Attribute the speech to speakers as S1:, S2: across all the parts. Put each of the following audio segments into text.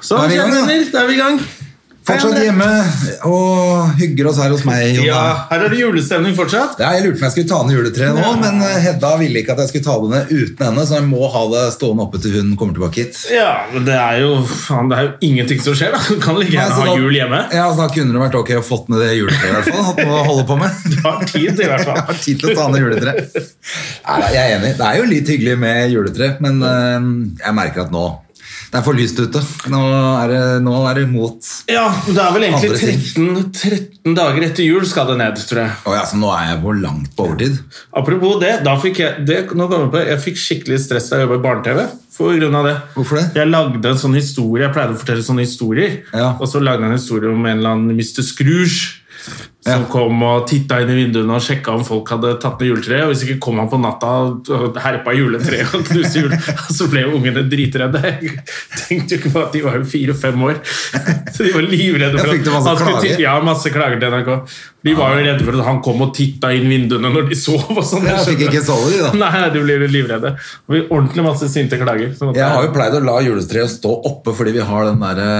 S1: Da er
S2: Sånn,
S1: vi i gang, da.
S2: kjenner, da er vi i gang.
S1: Fortsatt hjemme og hygger oss her hos meg. Jonna.
S2: Ja, her er det julestemning fortsatt.
S1: Ja, jeg lurte på om jeg skulle ta ned juletreet nå, men eh, Hedda ville ikke at jeg skulle ta det ned uten henne, så jeg må ha det stående oppe til hun kommer tilbake hit.
S2: Ja, men det er jo, faen, det er jo ingenting som skjer, da. Du kan like
S1: Nei,
S2: gjerne
S1: så
S2: ha
S1: da-
S2: jul hjemme.
S1: Ja, så da kunne det vært ok å fått ned det juletreet i hvert fall. Hatt noe å holde på med.
S2: Du har tid, i
S1: Jeg
S2: hvert fall.
S1: har tid til å ta ned juletreet. Nei, nei, Jeg er enig. Det er jo litt hyggelig med juletre, men eh, jeg merker at nå det er for lyst ute. Nå er det, nå er det mot
S2: Ja, men det er vel egentlig
S1: Andre ting.
S2: 13, 13 dager etter jul skal det ned, tror jeg.
S1: Å ja, så nå er jeg på langt på overtid.
S2: Apropos det, da fikk jeg det, nå kommer jeg på, jeg fikk skikkelig stress da jeg jobba i barne-TV. For grunn av det.
S1: Hvorfor det?
S2: Jeg lagde en sånn historie, jeg pleide å fortelle sånne historier.
S1: Ja.
S2: Og så lagde jeg en historie om en eller annen Mr. Scrooge. Som
S1: Ja.
S2: kom og titta inn i vinduene og sjekka om folk hadde tatt ned juletreet. Og hvis ikke kom han på natta og herpa juletreet og knuste jul. Så ble jo ungene dritredde. Jeg tenkte jo ikke på at de var jo fire-fem år. Så de var livredde
S1: Jeg
S2: for
S1: fikk det masse
S2: han skulle
S1: klager.
S2: titte- Ja, masse klager til NRK. De var jo redde for at han kom og titta inn vinduene når de sov. og sånn.
S1: Jeg fikk ikke sove i, da.
S2: Nei, de blir livredde. Og vi ordentlig masse sinte klager. sånn at
S1: Jeg har jo
S2: det-
S1: pleid å la juletreet stå oppe fordi vi har den derre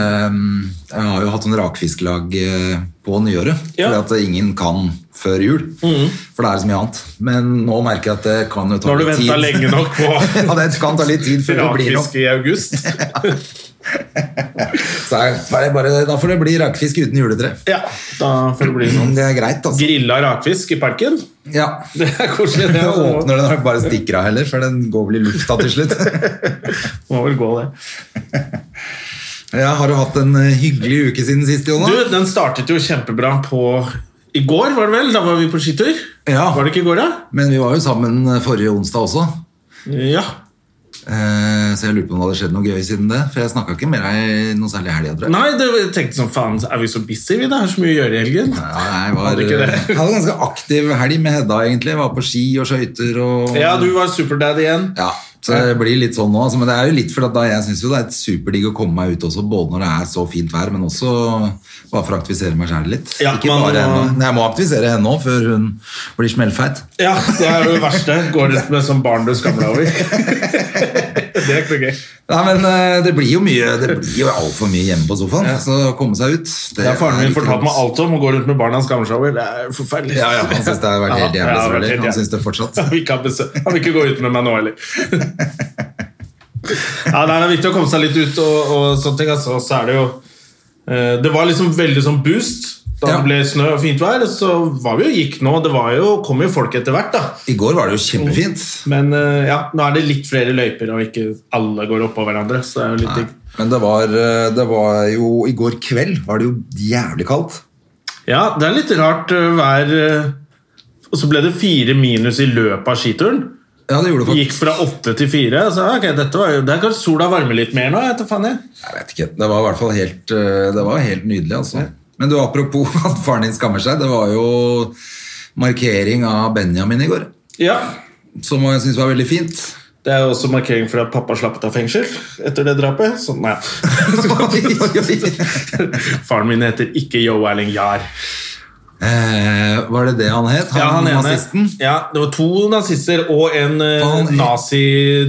S1: Jeg har jo hatt sånn rakfisklag eh, på nyåret.
S2: Ja. Mhm.
S1: Fordi at ingen kan før jul. For det er så mye annet. Men nå merker jeg at det kan jo
S2: Nå
S1: ta
S2: har du
S1: litt tid.
S2: venta lenge nok på
S1: ja, det kan ta litt tid før det blir
S2: rakfisk
S1: noe.
S2: i august.
S1: Så er- så er det bare, da får det bli rakfisk uten juletre.
S2: Ja, da får det bli sånn.
S1: Men Det er greit, altså.
S2: Grilla rakfisk i parken.
S1: Ja.
S2: Det er koselig,
S1: Det
S2: det. Må
S1: åpner den og bare stikker av heller, for den går vel i lufta til slutt.
S2: må vel gå, det.
S1: Ja, har du hatt en eh, hyggelig uke siden sist, Jonas?
S2: Du, den startet jo kjempebra på i går, var det vel? Da var vi på skitur.
S1: Ja.
S2: Var det ikke i går, da?
S1: Men vi var jo sammen eh, forrige onsdag også.
S2: Ja.
S1: Eh, Så jeg lurte på om det hadde skjedd noe gøy siden det. For jeg snakka ikke med deg noe særlig i helga, tror jeg.
S2: Nei, det, jeg tenkte sånn faen, er vi så busy, vi? Det er så mye å gjøre i helgen.
S1: Ja, jeg var,
S2: Hadde ikke
S1: jeg
S2: det.
S1: hadde en ganske aktiv helg med Hedda, egentlig. Jeg var på ski og skøyter og
S2: Ja, du var superdad igjen.
S1: Ja, Så det blir litt sånn nå. altså, Men det er jo litt for at da jeg syns jo det er et superdigg å komme meg ut også, både når det er så fint vær, men også bare for å aktivisere meg sjæl litt.
S2: Ja,
S1: ikke
S2: man
S1: bare
S2: må-
S1: henne. Nei, Jeg må aktivisere henne òg, før hun blir smellfeit.
S2: Ja, det er jo det verste. Går rundt med sånn barn du skammer deg over. Det er ikke noe gøy.
S1: Nei, men eh, det blir jo mye Det blir jo altfor mye hjemme på sofaen, så å komme seg ut det
S2: Ja, faren min
S1: ikke
S2: fortalte
S1: godt.
S2: meg alt om å gå rundt med barn han skammer seg over. Det er forferdelig.
S1: Ja, ja, han syns det har vært helt
S2: Ja,
S1: jævlig,
S2: ja, det har vært
S1: selvfølgelig.
S2: helt
S1: Han
S2: jævlig.
S1: syns det fortsatt.
S2: Han vil ikke ha besøk. Han vil ikke gå ut med meg nå heller. Ja, nei, Det er viktig å komme seg litt ut og, og sånne ting. Altså. Og Så er det jo eh, Det var liksom veldig sånn boost da
S1: Ja.
S2: det ble snø og fint vær. Så var vi jo gikk nå. Det var jo, kom jo folk etter hvert, da.
S1: I går var det jo kjempefint.
S2: Men eh, ja, nå er det litt flere løyper, og ikke alle går oppå hverandre. Så det er jo litt digg.
S1: Men det var, eh, det var jo I går kveld var det jo jævlig kaldt.
S2: Ja, det er litt rart eh, vær eh, Og så ble det fire minus i løpet av skituren.
S1: Ja, det gjorde det
S2: Gikk
S1: faktisk.
S2: fra åtte til fire. Så ja, ok, dette var jo Det er kanskje sola varmer litt mer nå? Jeg vet da faen jeg.
S1: Jeg vet ikke. Det var i hvert fall helt, eh, det var helt nydelig, altså. Men du, apropos at faren din skammer seg. Det var jo markering av Benjamin i går,
S2: Ja.
S1: som jeg syns var veldig fint.
S2: Det er jo også markering for at pappa slapp ut av fengsel etter det drapet. Så nei.
S1: Oi, oi, oi.
S2: Faren min heter ikke Jo Erling Jahr.
S1: Eh, var det det han het? Han,
S2: Ja, han ene.
S1: nazisten?
S2: Ja, det var to nazister og en eh,
S1: Han ene.
S2: nazi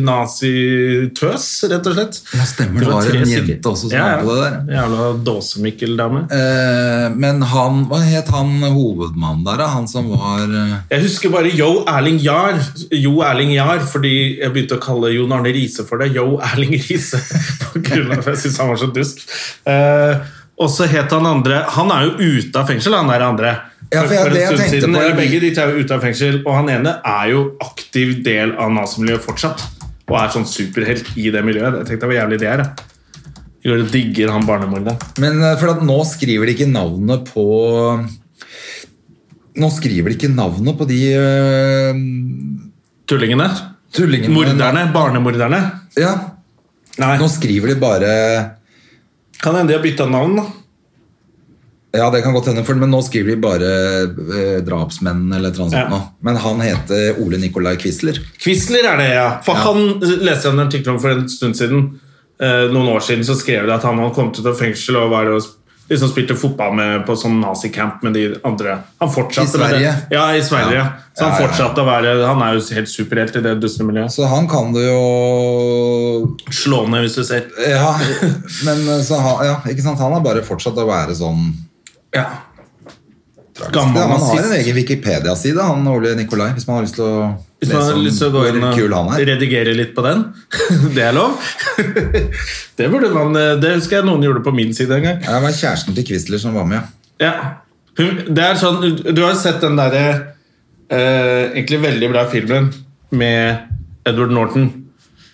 S2: nazitøs, rett og slett.
S1: Ja, stemmer, det var
S2: tre
S1: en
S2: stykker.
S1: jente også som var på det der.
S2: Jævla Dåsemikkel-dame.
S1: Eh, men han Hva het han hovedmannen der, da? Han som var eh,
S2: Jeg husker bare Jo Erling Jahr, jo Erling Jahr fordi jeg begynte å kalle Jon Arne Riise for det. Jo Erling Riise. På grunn av at jeg syntes han var så dust. Eh, og så het han andre Han er jo ute av fengsel, han der andre.
S1: Ja, for jeg- det jeg tenkte på-
S2: Eller begge de er jo ute av fengsel, og han ene er jo aktiv del av Nazi-miljøet fortsatt. Og er sånn superhelt i det miljøet. Jeg tenkte hvor jævlig det er. da. Jeg digger han barnemorderen.
S1: Men eh, for at nå skriver de ikke navnet på Nå skriver de ikke navnet på de eh,
S2: Tullingene.
S1: tullingene
S2: Morderne. Barnemorderne.
S1: Ja,
S2: Nei.
S1: nå skriver de bare
S2: Kan hende de har bytta navn, da.
S1: Ja, det kan godt hende, for, men nå skriver de bare eh, drapsmenn eller et eller annet sånt
S2: Ja.
S1: nå. Men han heter Ole Nikolai Quisler.
S2: Quisler er det, ja. For
S1: Ja.
S2: han leste jeg en artikkel om for en stund siden. Eh, noen år siden så skrev de at han hadde kommet ut av fengsel og var og sp- liksom spilte fotball med, på sånn nazicamp med de andre. Han fortsatte
S1: I
S2: med det.
S1: Sverige?
S2: Ja, i Sverige.
S1: Ja. Ja, ja,
S2: Så han
S1: ja.
S2: fortsatte å være Han er jo helt superhelt i det dustre miljøet.
S1: Så han kan du jo
S2: Slå ned hvis du ser.
S1: Ja, men eh, så han, ja, ikke sant? han har bare fortsatt å være sånn
S2: Ja.
S1: Ja,
S2: Gammel
S1: Han har en
S2: nazist.
S1: egen Wikipedia-side, han Ole Nikolai, hvis man har lyst til å
S2: Hvis man har lyst til å gå inn
S1: hvor kul han
S2: og
S1: er.
S2: redigere litt på den, det er lov. det burde man eh, Det husker jeg noen gjorde på min side en gang.
S1: Ja, Det var kjæresten til Quisler som var med, ja.
S2: Ja. Hun, det er sånn, du har jo sett den derre eh, egentlig veldig bra filmen med Edward Norton.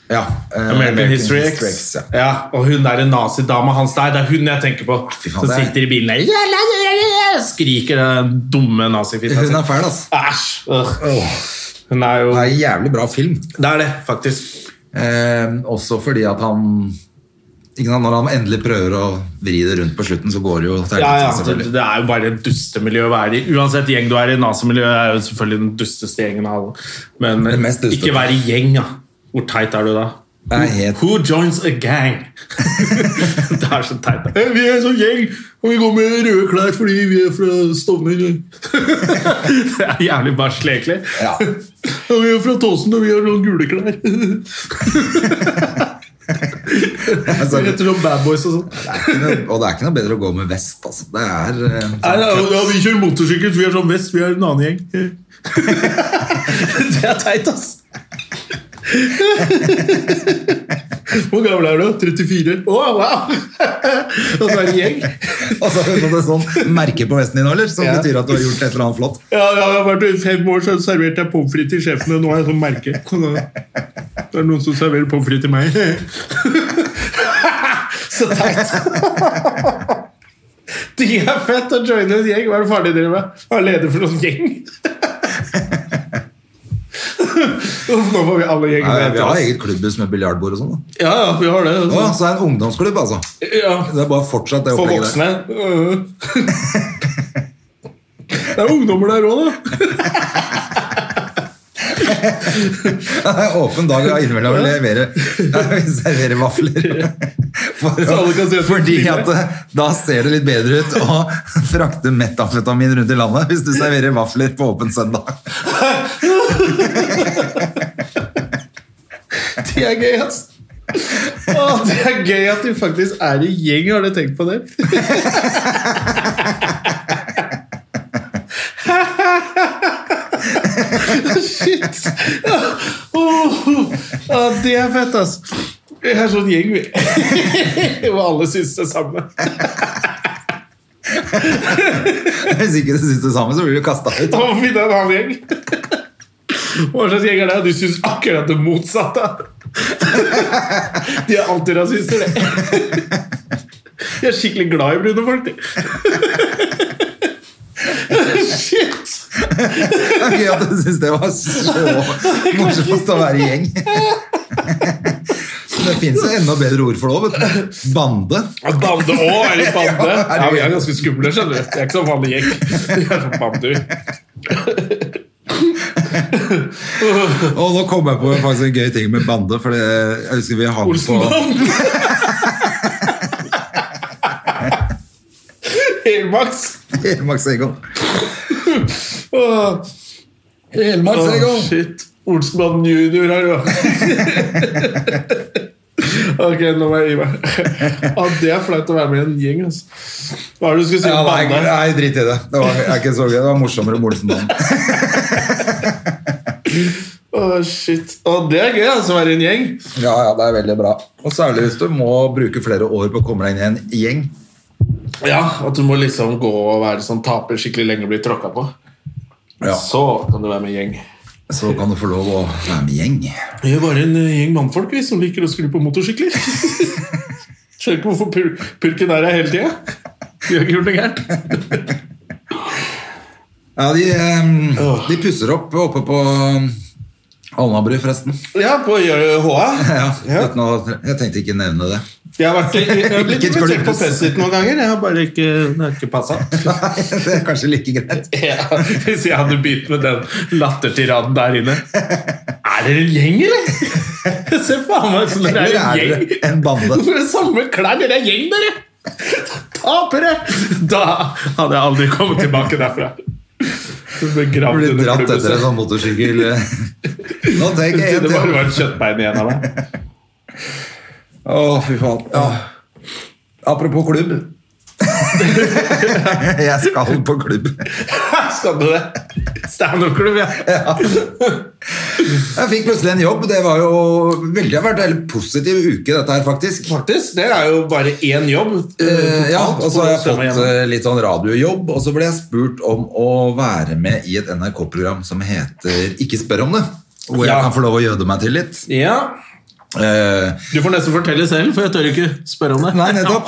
S1: ja eh,
S2: American, History X.
S1: ja.
S2: ja. og hun der nazidama hans der, det er hun jeg tenker på.
S1: fy faen,
S2: som
S1: det er-
S2: sitter i bilen der «Ja, la, la, la, la», skriker den dumme nazifitta
S1: Hun er fæl, altså.
S2: Æsj! øh. Hun er jo
S1: Det er en jævlig bra film.
S2: Det er det, faktisk.
S1: Eh, også fordi at han ikke sant, Når han endelig prøver å vri det rundt på slutten, så går det jo til
S2: Ja, ja,
S1: helvete,
S2: det,
S1: selvfølgelig.
S2: det er jo bare et dustemiljø å være i. Uansett gjeng du er i, nazimiljøet er jo selvfølgelig den dusteste gjengen av alle. Men
S1: Den mest dustete.
S2: ikke være i gjeng, da. Hvor teit er du da?
S1: Det er helt
S2: Who joins a gang? det er så teit. da. Vi er en sånn gjeng, og vi går med røde klær fordi vi er fra Stovner. det er jævlig barsk, egentlig.
S1: Ja.
S2: Og vi er fra Tåsen, og vi har sånn gule klær.
S1: Altså,
S2: Vi heter sånn Bad Boys og sånn.
S1: det er ikke noe, og det er ikke noe bedre å gå med vest, altså. Det er eh,
S2: Nei, ja, ja, vi kjører motorsykkel, så vi er sånn vest, vi er en annen gjeng. det er teit, ass. Hvor gammel er du? 34. Å, wow! Og så er det gjeng.
S1: Og så har du fått et sånt sånn merke på vesten din, eller? Som
S2: Ja.
S1: betyr at du har gjort et eller annet flott.
S2: Ja, ja, jeg har vært i fem år, så serverte jeg pommes frites til sjefen, og nå har jeg sånn merke. Det er noen som serverer pommes frites til meg. så teit. De er fett å joine en gjeng. Hva er det farlig de driver med? Hva er leder for noen gjeng? Uff, nå får vi alle
S1: Nei,
S2: gjengene
S1: vi
S2: etter
S1: har
S2: oss.
S1: eget klubbhus med biljardbord og sånn. da.
S2: Ja, ja, vi har det.
S1: Å, så er det en ungdomsklubb, altså.
S2: Ja.
S1: Det er bare fortsatt det
S2: For
S1: opplegget der.
S2: voksne. Øh. Det er ungdommer der òg, da.
S1: Det er åpen dag og innimellom vi leverer, vi serverer vafler. For,
S2: Så alle kan si at du
S1: fordi
S2: smiler.
S1: at eh, da ser det litt bedre ut å frakte metamfetamin rundt i landet hvis du serverer vafler på åpen søndag.
S2: Det er gøy, ass. Å, det er gøy at de faktisk er i gjeng. Har du tenkt på det? Shit! Åh, ja, det er fett, ass. Vi er sånn gjeng, vi. Hvor alle syns det samme.
S1: Hvis ikke du syns det samme, så blir du kasta ut.
S2: Da må vi finne en annen gjeng. Hva slags gjeng er det? Du syns akkurat det motsatte. De er alltid rasister, det. De er skikkelig glad i brune folk, de. Shit!
S1: Det er gøy at du syns det var så morsomt å være i gjeng. Det fins jo enda bedre ord for det òg, vet du. Bande.
S2: Bande òg, er de bande?
S1: Ja, herregud.
S2: Ja, vi er ganske skumle, skjønner du. Det er ikke sånn vanlig gjeng. Vi er sånn bander.
S1: Og nå kom jeg på faktisk en gøy ting med bande. For det, jeg husker vi hang på
S2: Olsenbanden! Helmaks!
S1: Max Egon.
S2: Åh.
S1: Helmaks
S2: Åh,
S1: Egon.
S2: shit. Olsenbanden junior her, jo. ok, nå må jeg gi meg. Ja, det er flaut å være med i en gjeng, altså. Hva er det du skulle si
S1: Ja,
S2: om
S1: nei,
S2: bande?
S1: nei, drit i det. Det var, er ikke så gøy. Det var morsommere med Olsenbanden.
S2: Åh, shit. Åh, det er gøy, altså, å være i en gjeng.
S1: Ja, ja, det er veldig bra. Og særlig hvis du må bruke flere år på å komme deg inn i en gjeng.
S2: Ja, at du må liksom gå og være sånn taper skikkelig lenge og bli tråkka på.
S1: Ja.
S2: Så kan du være med i gjeng.
S1: Så kan du få lov å være med i gjeng.
S2: Vi er bare en eh, gjeng mannfolk vi som liker å skru på motorsykler. Skjønner ikke hvorfor pul pulken er her hele tida. Vi har ikke gjort noe gærent.
S1: Ja, de, ehm, de pusser opp oppe på Alnabru, forresten.
S2: Ja, på å gjøre HA.
S1: Ja, uten å, jeg tenkte ikke nevne det.
S2: Jeg har, vært, i- jeg har blitt
S1: Hvilket
S2: invitert på
S1: klubbhus?
S2: festet noen ganger. Jeg har bare ikke, det har ikke passa.
S1: Nei, det er kanskje like greit.
S2: Ja, hvis jeg hadde begynt med den lattertiraden der inne. Er dere en gjeng, eller? Jeg ser faen meg ut som dere
S1: Eller
S2: er
S1: er
S2: en
S1: det
S2: gjeng.
S1: en bande?
S2: Hvorfor er det samme klær? Dere er gjeng, dere! Tapere! Da hadde jeg aldri kommet tilbake derfra. Du ble gravd
S1: Blir
S2: under
S1: dratt etter en
S2: klubbhuset.
S1: sånn motorsykkel. Nå tenker jeg
S2: Det
S1: en
S2: bare
S1: til.
S2: var et kjøttbein igjen av meg.
S1: Å, fy faen. Ja. Apropos klubb. jeg skal på klubb.
S2: Skal du det? Standup-klubb, ja.
S1: Jeg fikk plutselig en jobb. Det var jo veldig, det har vært en veldig positiv uke, dette her, faktisk.
S2: Faktisk, det er jo bare én jobb.
S1: Eh, ja, og så har jeg
S2: Stemmer
S1: fått
S2: igjen.
S1: eh, litt sånn radiojobb, og så ble jeg spurt om å være med i et NRK-program som heter Ikke spør om det. Hvor jeg
S2: Ja.
S1: kan få lov å gjøde meg til litt.
S2: Ja,
S1: Eh,
S2: Du får nesten fortelle selv, for jeg tør ikke spørre om det.
S1: Nei, nettopp.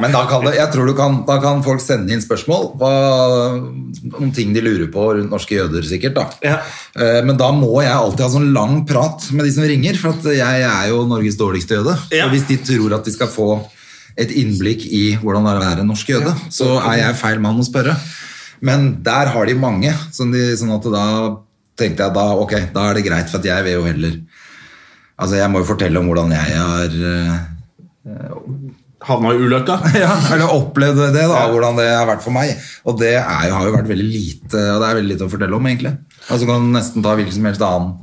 S1: Men da kan, det, jeg tror du kan, da kan folk sende inn spørsmål hva, om ting de lurer på rundt norske jøder, sikkert. da.
S2: Ja.
S1: Eh, Men da må jeg alltid ha sånn lang prat med de som ringer, for at jeg er jo Norges dårligste jøde.
S2: Ja.
S1: Så hvis de tror at de skal få et innblikk i hvordan det er å være norsk jøde, så er jeg feil mann å spørre. Men der har de mange, sånn, de, sånn at da tenkte jeg da, ok, da er det greit, for at jeg vil jo heller Altså, jeg må jo fortelle om hvordan jeg har eh,
S2: Havna i ulykka.
S1: ja, eller opplevd det, da, hvordan det har vært for meg. Og det er, jo- har jo vært veldig lite Og det er veldig lite å fortelle om, egentlig. Altså kan du nesten ta hvilken som helst annen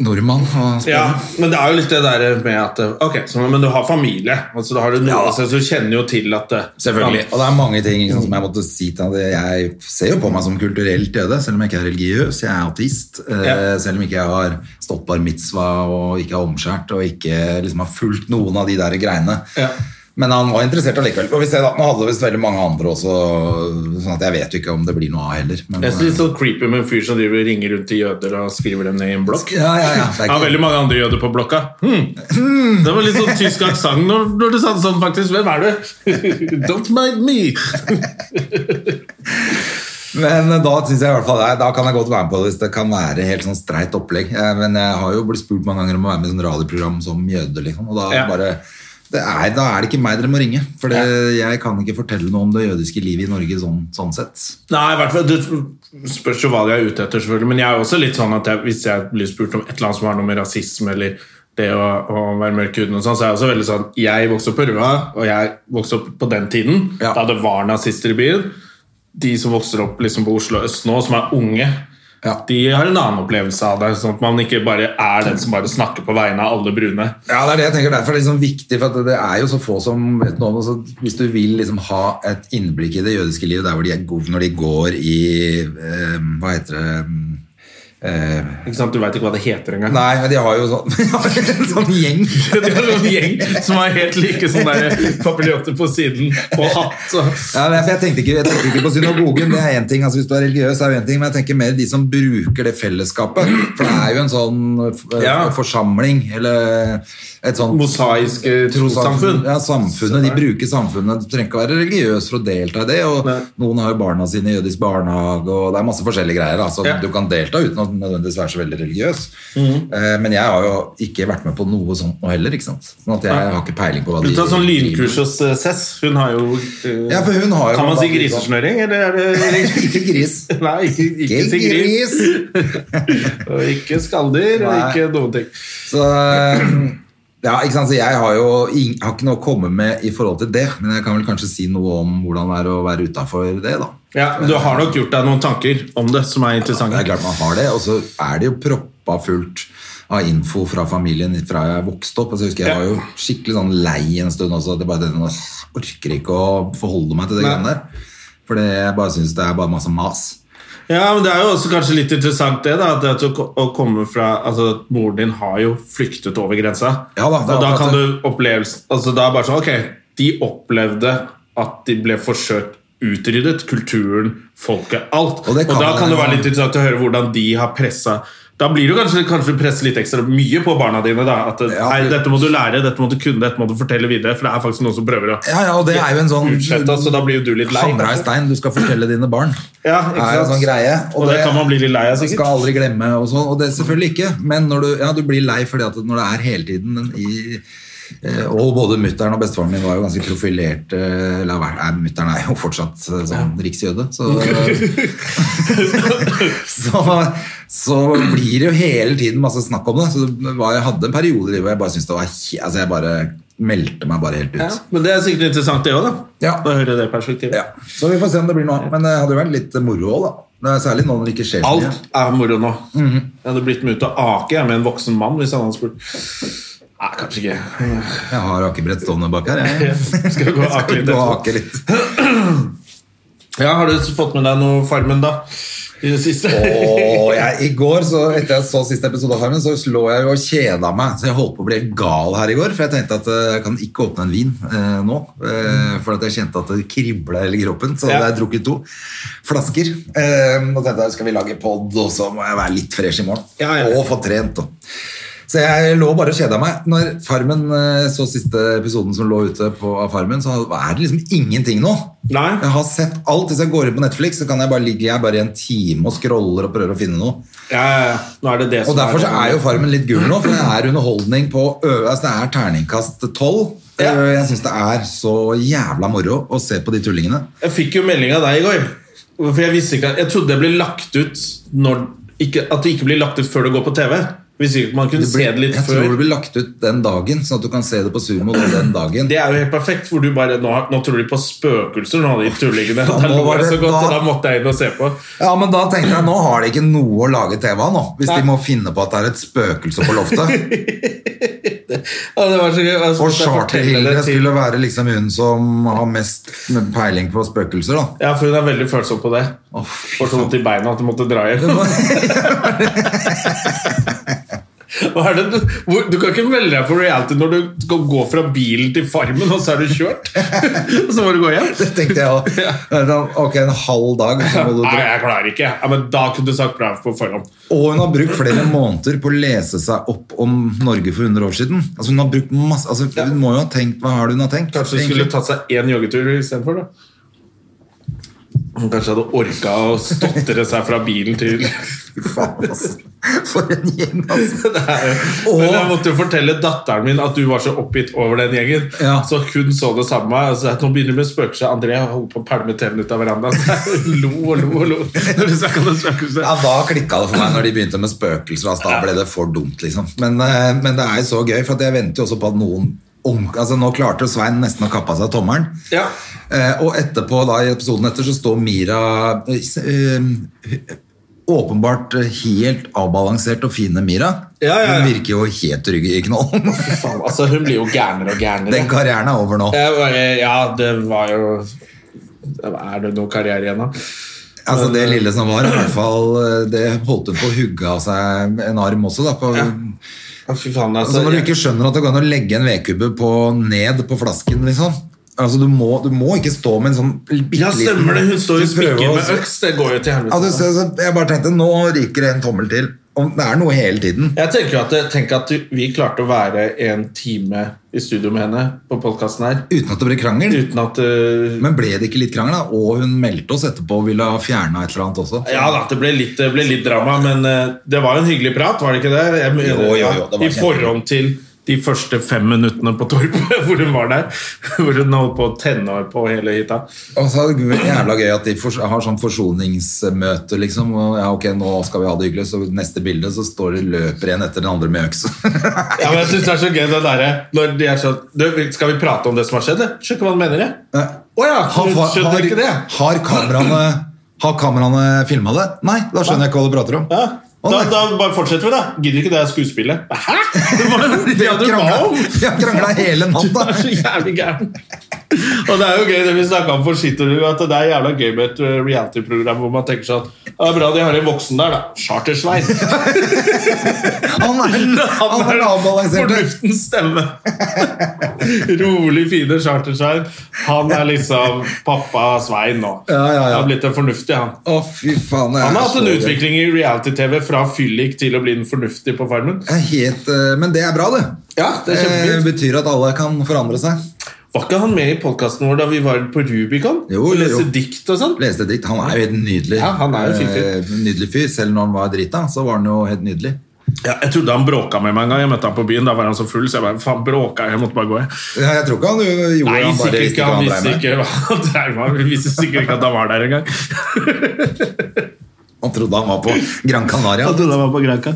S1: nordmann og spørre.
S2: Ja, men det er jo litt det der med at eh, Ok, så, men du har familie, altså, da har du noe,
S1: Ja.
S2: altså, så du kjenner jo til at eh,
S1: Selvfølgelig. Og det er mange ting ikke sant, som jeg måtte si til ham. Jeg ser jo på meg som kulturelt jøde, selv om jeg ikke er religiøs. Jeg er ateist. eh,
S2: Ja.
S1: Selv om ikke jeg har stått bar mitzvah og ikke er omskjært og ikke liksom, har fulgt noen av de der greiene.
S2: Ja.
S1: Men han var interessert allikevel. Og vi ser da, Nå hadde det visst veldig mange andre også, sånn at jeg vet jo ikke om det blir noe av heller. Men,
S2: Jeg synes det er så creepy med en fyr som driver og ringer rundt til jøder og skriver dem ned i en blokk.
S1: ja, ja, ja. Det er
S2: Jeg har
S1: ikke,
S2: veldig mange andre jøder på blokka. Hmm. Det var litt sånn tysk aksent når, når du sa det sånn, faktisk. Hvem er du? Don't mind me!
S1: men eh, da synes jeg i hvert fall nei, Da kan jeg godt være med på det hvis det kan være helt sånn streit opplegg. Eh, Men jeg har jo blitt spurt mange ganger om å være med i sånn radioprogram som jøde, liksom. Og da,
S2: Ja.
S1: bare, det er, da er det ikke meg dere må ringe. For det, jeg kan ikke fortelle noe om det jødiske livet i Norge sånn, sånn sett.
S2: Nei, i hvert fall, det spørs jo hva de er ute etter, selvfølgelig. Men jeg er jo også litt sånn at jeg, hvis jeg blir spurt om et eller annet som har noe med rasisme eller det å, å være mørk i huden og sånn, så er jeg også veldig sånn Jeg vokste opp på Røa, og jeg vokste opp på den tiden,
S1: Ja.
S2: da det var nazister i byen. De som vokser opp liksom på Oslo øst nå, som er unge,
S1: Ja.
S2: de har en annen opplevelse av det. Sånn at man ikke bare er den som bare snakker på vegne av alle brune.
S1: Ja, det er det jeg tenker. Derfor er det liksom viktig, for at det er jo så få som vet noe om det. Så hvis du vil liksom ha et innblikk i det jødiske livet, der hvor de er gode når de går i eh, Hva heter det eh,
S2: Ikke sant? Du veit ikke hva det heter engang.
S1: Nei, men de har jo sånn, de har en sånn gjeng.
S2: Det er en gjeng som er helt like som papiljotter på siden og hatt. Og
S1: Ja, men jeg, for jeg, tenkte ikke, jeg tenkte ikke på synagogen. Det er en ting, altså Hvis du er religiøs, er det en ting, men jeg tenker mer de som bruker det fellesskapet. For det er jo en sånn eh,
S2: Ja.
S1: forsamling, eller et sånt
S2: mosaiske eh, trossamfunn.
S1: trossamfunn. Ja, samfunnet, De bruker samfunnet. Du trenger ikke være religiøs for å delta i det. og
S2: Nei.
S1: Noen har jo barna sine i jødisk barnehage, og det er masse forskjellige greier. da, så
S2: Ja. Mhm.
S1: Du kan delta uten å nødvendigvis være så veldig religiøs. Eh, Men jeg har jo ikke vært med på noe sånt nå heller. ikke sant? Sånn at jeg
S2: Nei.
S1: har ikke peiling på hva
S2: Du tar sånn
S1: driver med.
S2: lynkurs hos eh, Sess. Hun har jo eh,
S1: Ja, for hun har jo
S2: Kan man si
S1: blant-
S2: grisesnøring, eller er det
S1: Ikke gris.
S2: Nei, ikke, ikke si gris. Og ikke skalldyr, og
S1: Nei.
S2: ikke noen ting.
S1: Så eh, ja, ikke sant? Så jeg har jo ing- har ikke noe å komme med i forhold til det, men jeg kan vel kanskje si noe om hvordan det er å være utafor det, da.
S2: Ja, Du har nok gjort deg noen tanker om det som er
S1: Det
S2: interessante.
S1: er klart man har det, og så er det jo proppa fullt av info fra familien fra jeg vokste opp. Altså, jeg husker jeg
S2: Ja.
S1: var jo skikkelig sånn lei en stund også. at Jeg bare tenkte, "Nå orker ikke å forholde meg til det
S2: Nei.
S1: greiene der. Fordi jeg bare syns det er bare masse mas.
S2: Ja, men Det er jo også kanskje litt interessant det da, at det at å ko- å komme fra, altså at moren din har jo flyktet over grensa.
S1: Ja da, det er
S2: og da
S1: akkurat
S2: kan
S1: det.
S2: du opplevelse, altså da er det bare sånn, ok, De opplevde at de ble forsøkt utryddet. Kulturen, folket, alt.
S1: Og
S2: Og,
S1: det kan
S2: Da
S1: man-
S2: kan det være litt interessant å høre hvordan de har pressa da blir du kanskje, kanskje du presser litt ekstra mye på barna dine. da, at
S1: Ja.
S2: nei, Dette må du lære, dette må du kunne, dette må du fortelle videre. For det er faktisk noen som prøver å
S1: Ja, ja, og det er jo en sånn
S2: utslette oss, så da blir jo du litt lei.
S1: hamra i stein du skal fortelle dine barn.
S2: Ja,
S1: Det
S2: ikke
S1: er jo en
S2: sant?
S1: sånn greie.
S2: Og, det, kan man bli litt lei av, sikkert.
S1: skal aldri glemme og sånn, og det selvfølgelig ikke. Men når du, ja, du blir lei fordi at når det er hele tiden en i Eh, Og både mutter'n og bestefaren min var jo ganske profilerte eh, Eller mutter'n er jo fortsatt eh, sånn riksjøde, så så, så blir det jo hele tiden masse snakk om det. Så det var, jeg hadde en periode hvor jeg bare syntes det var he- Altså jeg bare meldte meg bare helt ut.
S2: Ja, men det er sikkert interessant, det òg, da.
S1: Ja.
S2: Å høre det perspektivet.
S1: Ja, Så vi får se om det blir noe av. Men det hadde jo vært litt moro òg, da. Det er særlig nå når det ikke skjer så mye.
S2: Alt er moro nå.
S1: Mhm.
S2: Jeg hadde blitt med ut og ake jeg, med en voksen mann hvis han hadde spurt. Nei, kanskje ikke.
S1: Jeg har akebrett stående bak her. Jeg.
S2: Skal vi gå og ake litt
S1: Gå og
S2: etterpå?
S1: ake litt.
S2: Ja, har du fått med deg noe Farmen, da? I det siste?
S1: Og jeg, I går, så etter jeg så siste episode av Farmen, så lå jeg jo og kjeda meg. Så jeg holdt på å bli helt gal her i går, for jeg tenkte at eh, jeg kan ikke åpne en vin eh, nå. Eh, for at jeg kjente at det kribla i hele kroppen, så
S2: Ja.
S1: hadde jeg drukket to flasker. Eh, og tenkte jeg skal vi lage pod, og så må jeg være litt fresh i morgen.
S2: Ja, ja.
S1: Og få trent. Og. Så jeg lå bare og kjeda meg. Når Farmen eh, så siste episoden som lå ute på, av Farmen, så er det liksom ingenting nå.
S2: Nei.
S1: Jeg har sett alt. Hvis jeg går inn på Netflix, så kan jeg bare ligge jeg bare i en time og scroller og prøver å finne noe.
S2: Ja, ja, ja. Nå er det det
S1: Og Derfor så er jo
S2: det.
S1: Farmen litt gul nå, for det er underholdning på ø- altså Det er terningkast tolv.
S2: Ja.
S1: Eh, Jeg syns det er så jævla moro å se på de tullingene.
S2: Jeg fikk jo melding av deg i går. For jeg visste ikke at- Jeg trodde det ble lagt ut når ikke, At det ikke blir lagt ut før det går på TV. Hvis ikke man kunne se det litt
S1: jeg
S2: før.
S1: tror det blir lagt ut den dagen, sånn at du kan se det på Sumo den dagen.
S2: Det er jo helt perfekt, hvor du bare Nå, nå tror de på spøkelser, nå, de tullingene.
S1: Ja,
S2: Der
S1: nå
S2: lo
S1: var
S2: jeg
S1: det
S2: så godt,
S1: da-
S2: og da måtte jeg inn og se på.
S1: Ja, men da tenkte jeg, nå har de ikke noe å lage TV av nå, hvis
S2: Nei.
S1: de må finne på at det er et spøkelse på loftet.
S2: Ja, det var så gøy. Jeg
S1: Og
S2: måtte jeg fortelle det
S1: Charter-Hilde
S2: til-
S1: skulle være liksom hun som har mest peiling på spøkelser, da.
S2: Ja, for hun er veldig følsom på det.
S1: Å, fy
S2: Får så vondt i beina at du måtte dra hjem. Hva er det du, hvor, du kan ikke melde deg på reality når du skal gå fra bilen til farmen, og så er du kjørt. og så må du gå hjem.
S1: Det tenkte jeg også. Det er sånn, Ok, en halv dag. Så må du
S2: Nei,
S1: dra.
S2: jeg klarer ikke. Ja, men da kunne du sagt bra på forhånd.
S1: Og hun har brukt flere måneder på å lese seg opp om Norge for 100 år siden. Altså Hun har brukt masse altså, Hun må jo ha tenkt Hva har det hun har tenkt?
S2: Kanskje du skulle tatt seg én joggetur istedenfor, da. Hun kanskje hadde orka å stotre seg fra bilen til
S1: Fy faen, altså. For en gjeng, altså.
S2: Det er jo-
S1: Åh.
S2: Men jeg måtte jo fortelle datteren min at du var så oppgitt over den gjengen.
S1: Ja.
S2: Så hun så det samme. Altså, at nå begynner vi med spøkelset. André holder på å pælme tennene ut av verandaen. Hun lo og lo og lo. Når du snakket om det spøkelset.
S1: Ja, Da klikka det for meg når de begynte med spøkelser. Altså, da ble det for dumt, liksom. Men, eh, men det er jo så gøy, for at jeg venter jo også på at noen om, altså Nå klarte jo Svein nesten å kappe av seg tommelen.
S2: Ja.
S1: Eh, og etterpå, da, i episoden etter, så står Mira eh, s- eh, Åpenbart eh, helt avbalansert og fine Mira.
S2: Ja, ja, ja.
S1: Hun virker jo helt trygg i knollen.
S2: Faen, altså, hun blir jo gærnere og gærnere.
S1: Den karrieren er over nå.
S2: Jeg bare, ja, det var jo Er det noe karriere igjen, da?
S1: Altså Det lille som var, i hvert fall eh, det holdt hun på å hugge av seg en arm også. da på,
S2: Ja, Fy faen,
S1: altså,
S2: altså.
S1: Når du
S2: jeg-
S1: ikke skjønner at det går an å legge en vedkubbe på, ned på flasken, liksom. Altså Du må, du må ikke stå med en sånn bitte
S2: Ja, stemmer det. Hun står og
S1: Du prøver
S2: spikker
S1: å-
S2: med øks. Det går jo til helvete.
S1: Ja, du, så, så, jeg bare tenkte nå ryker det en tommel til. Om- Det er noe hele tiden.
S2: Jeg tenker jo at, eh, tenk at du- vi klarte å være en time i studio med henne på podkasten her
S1: Uten at det blir krangel.
S2: uten at uh,
S1: Men ble det ikke litt krangel, da? Og hun meldte oss etterpå og ville ha fjerna et eller annet også.
S2: ja da, det ble litt, det ble litt drama, men eh, det var jo en hyggelig prat, var det ikke det? Jeg mener,
S1: Jo, jo, jo, det var
S2: I forhold til de første fem minuttene på Torpet, hvor hun var der. Hvor hun holdt på å tenne på hele hytta.
S1: Og så er det gøy- jævla gøy at de fors- har sånn forsoningsmøte, liksom. Og ja, ok, nå skal vi ha det hyggelig, så neste bilde så står det løper en etter den andre med øks.
S2: Ja, men jeg synes det er så gøy det derre når de er sånn du, Skal vi prate om det som har skjedd, eller? Skjønner ikke hva han mener, jeg.
S1: Nei.
S2: Å ja,
S1: Har,
S2: du
S1: har,
S2: skjønner ikke det?
S1: har kameraene, har kameraene filma det? Nei, da skjønner jeg ikke hva du prater om.
S2: Ja.
S1: Å,
S2: Da,
S1: nei.
S2: da bare fortsetter vi, da. Gidder ikke det skuespillet. Hæ?! Det var jo det
S1: De har
S2: du ba om!
S1: kranglet- de har krangla hele
S2: Du
S1: natta!
S2: er så jævlig gæren. Og det er jo gøy det vi snakket om for Skitterud, at det er jævla gøy med et uh, reality-program hvor man tenker sånn «Ja, Det er bra de har en voksen der, da. Chartersvein.
S1: Han er han er den avbalanserte.
S2: fornuftens stemme. Rolig, fine Chartersvein. Han er liksom pappa Svein nå.
S1: Ja, ja, ja.
S2: Han har blitt en fornuftig, han.
S1: Å, fy faen. det er
S2: Han har hatt
S1: så
S2: en
S1: gøy.
S2: utvikling i reality-TV fra fyllik til å bli den fornuftige på Farmen.
S1: Det er helt, eh, men det er bra, det.
S2: Ja, det er kjempefint.
S1: Eh, betyr at alle kan forandre seg.
S2: Eh, Var ikke han med i podkasten vår da vi var på Rubicon?
S1: Jo, jo,
S2: og
S1: jo.
S2: leste dikt og sånn?
S1: Leste dikt. Han er jo helt nydelig.
S2: Ja, han er jo fin fyr.
S1: Eh, nydelig fyr. Selv når han var drita, så var han jo helt nydelig.
S2: Ja, jeg trodde han bråka med meg en gang. Jeg møtte han på byen, da var han så full, så jeg bare faen, bråka jeg? Jeg måtte bare gå. jeg.
S1: Ja, jeg tror ikke han jo- gjorde
S2: Nei,
S1: han bare
S2: sikkert
S1: visste
S2: ikke. Han
S1: hva drev
S2: visste
S1: med.
S2: ikke hva han dreiv med. Han visste sikkert ikke at han var der engang.
S1: Han trodde han var på Gran Canaria.
S2: Han trodde han var på Granca.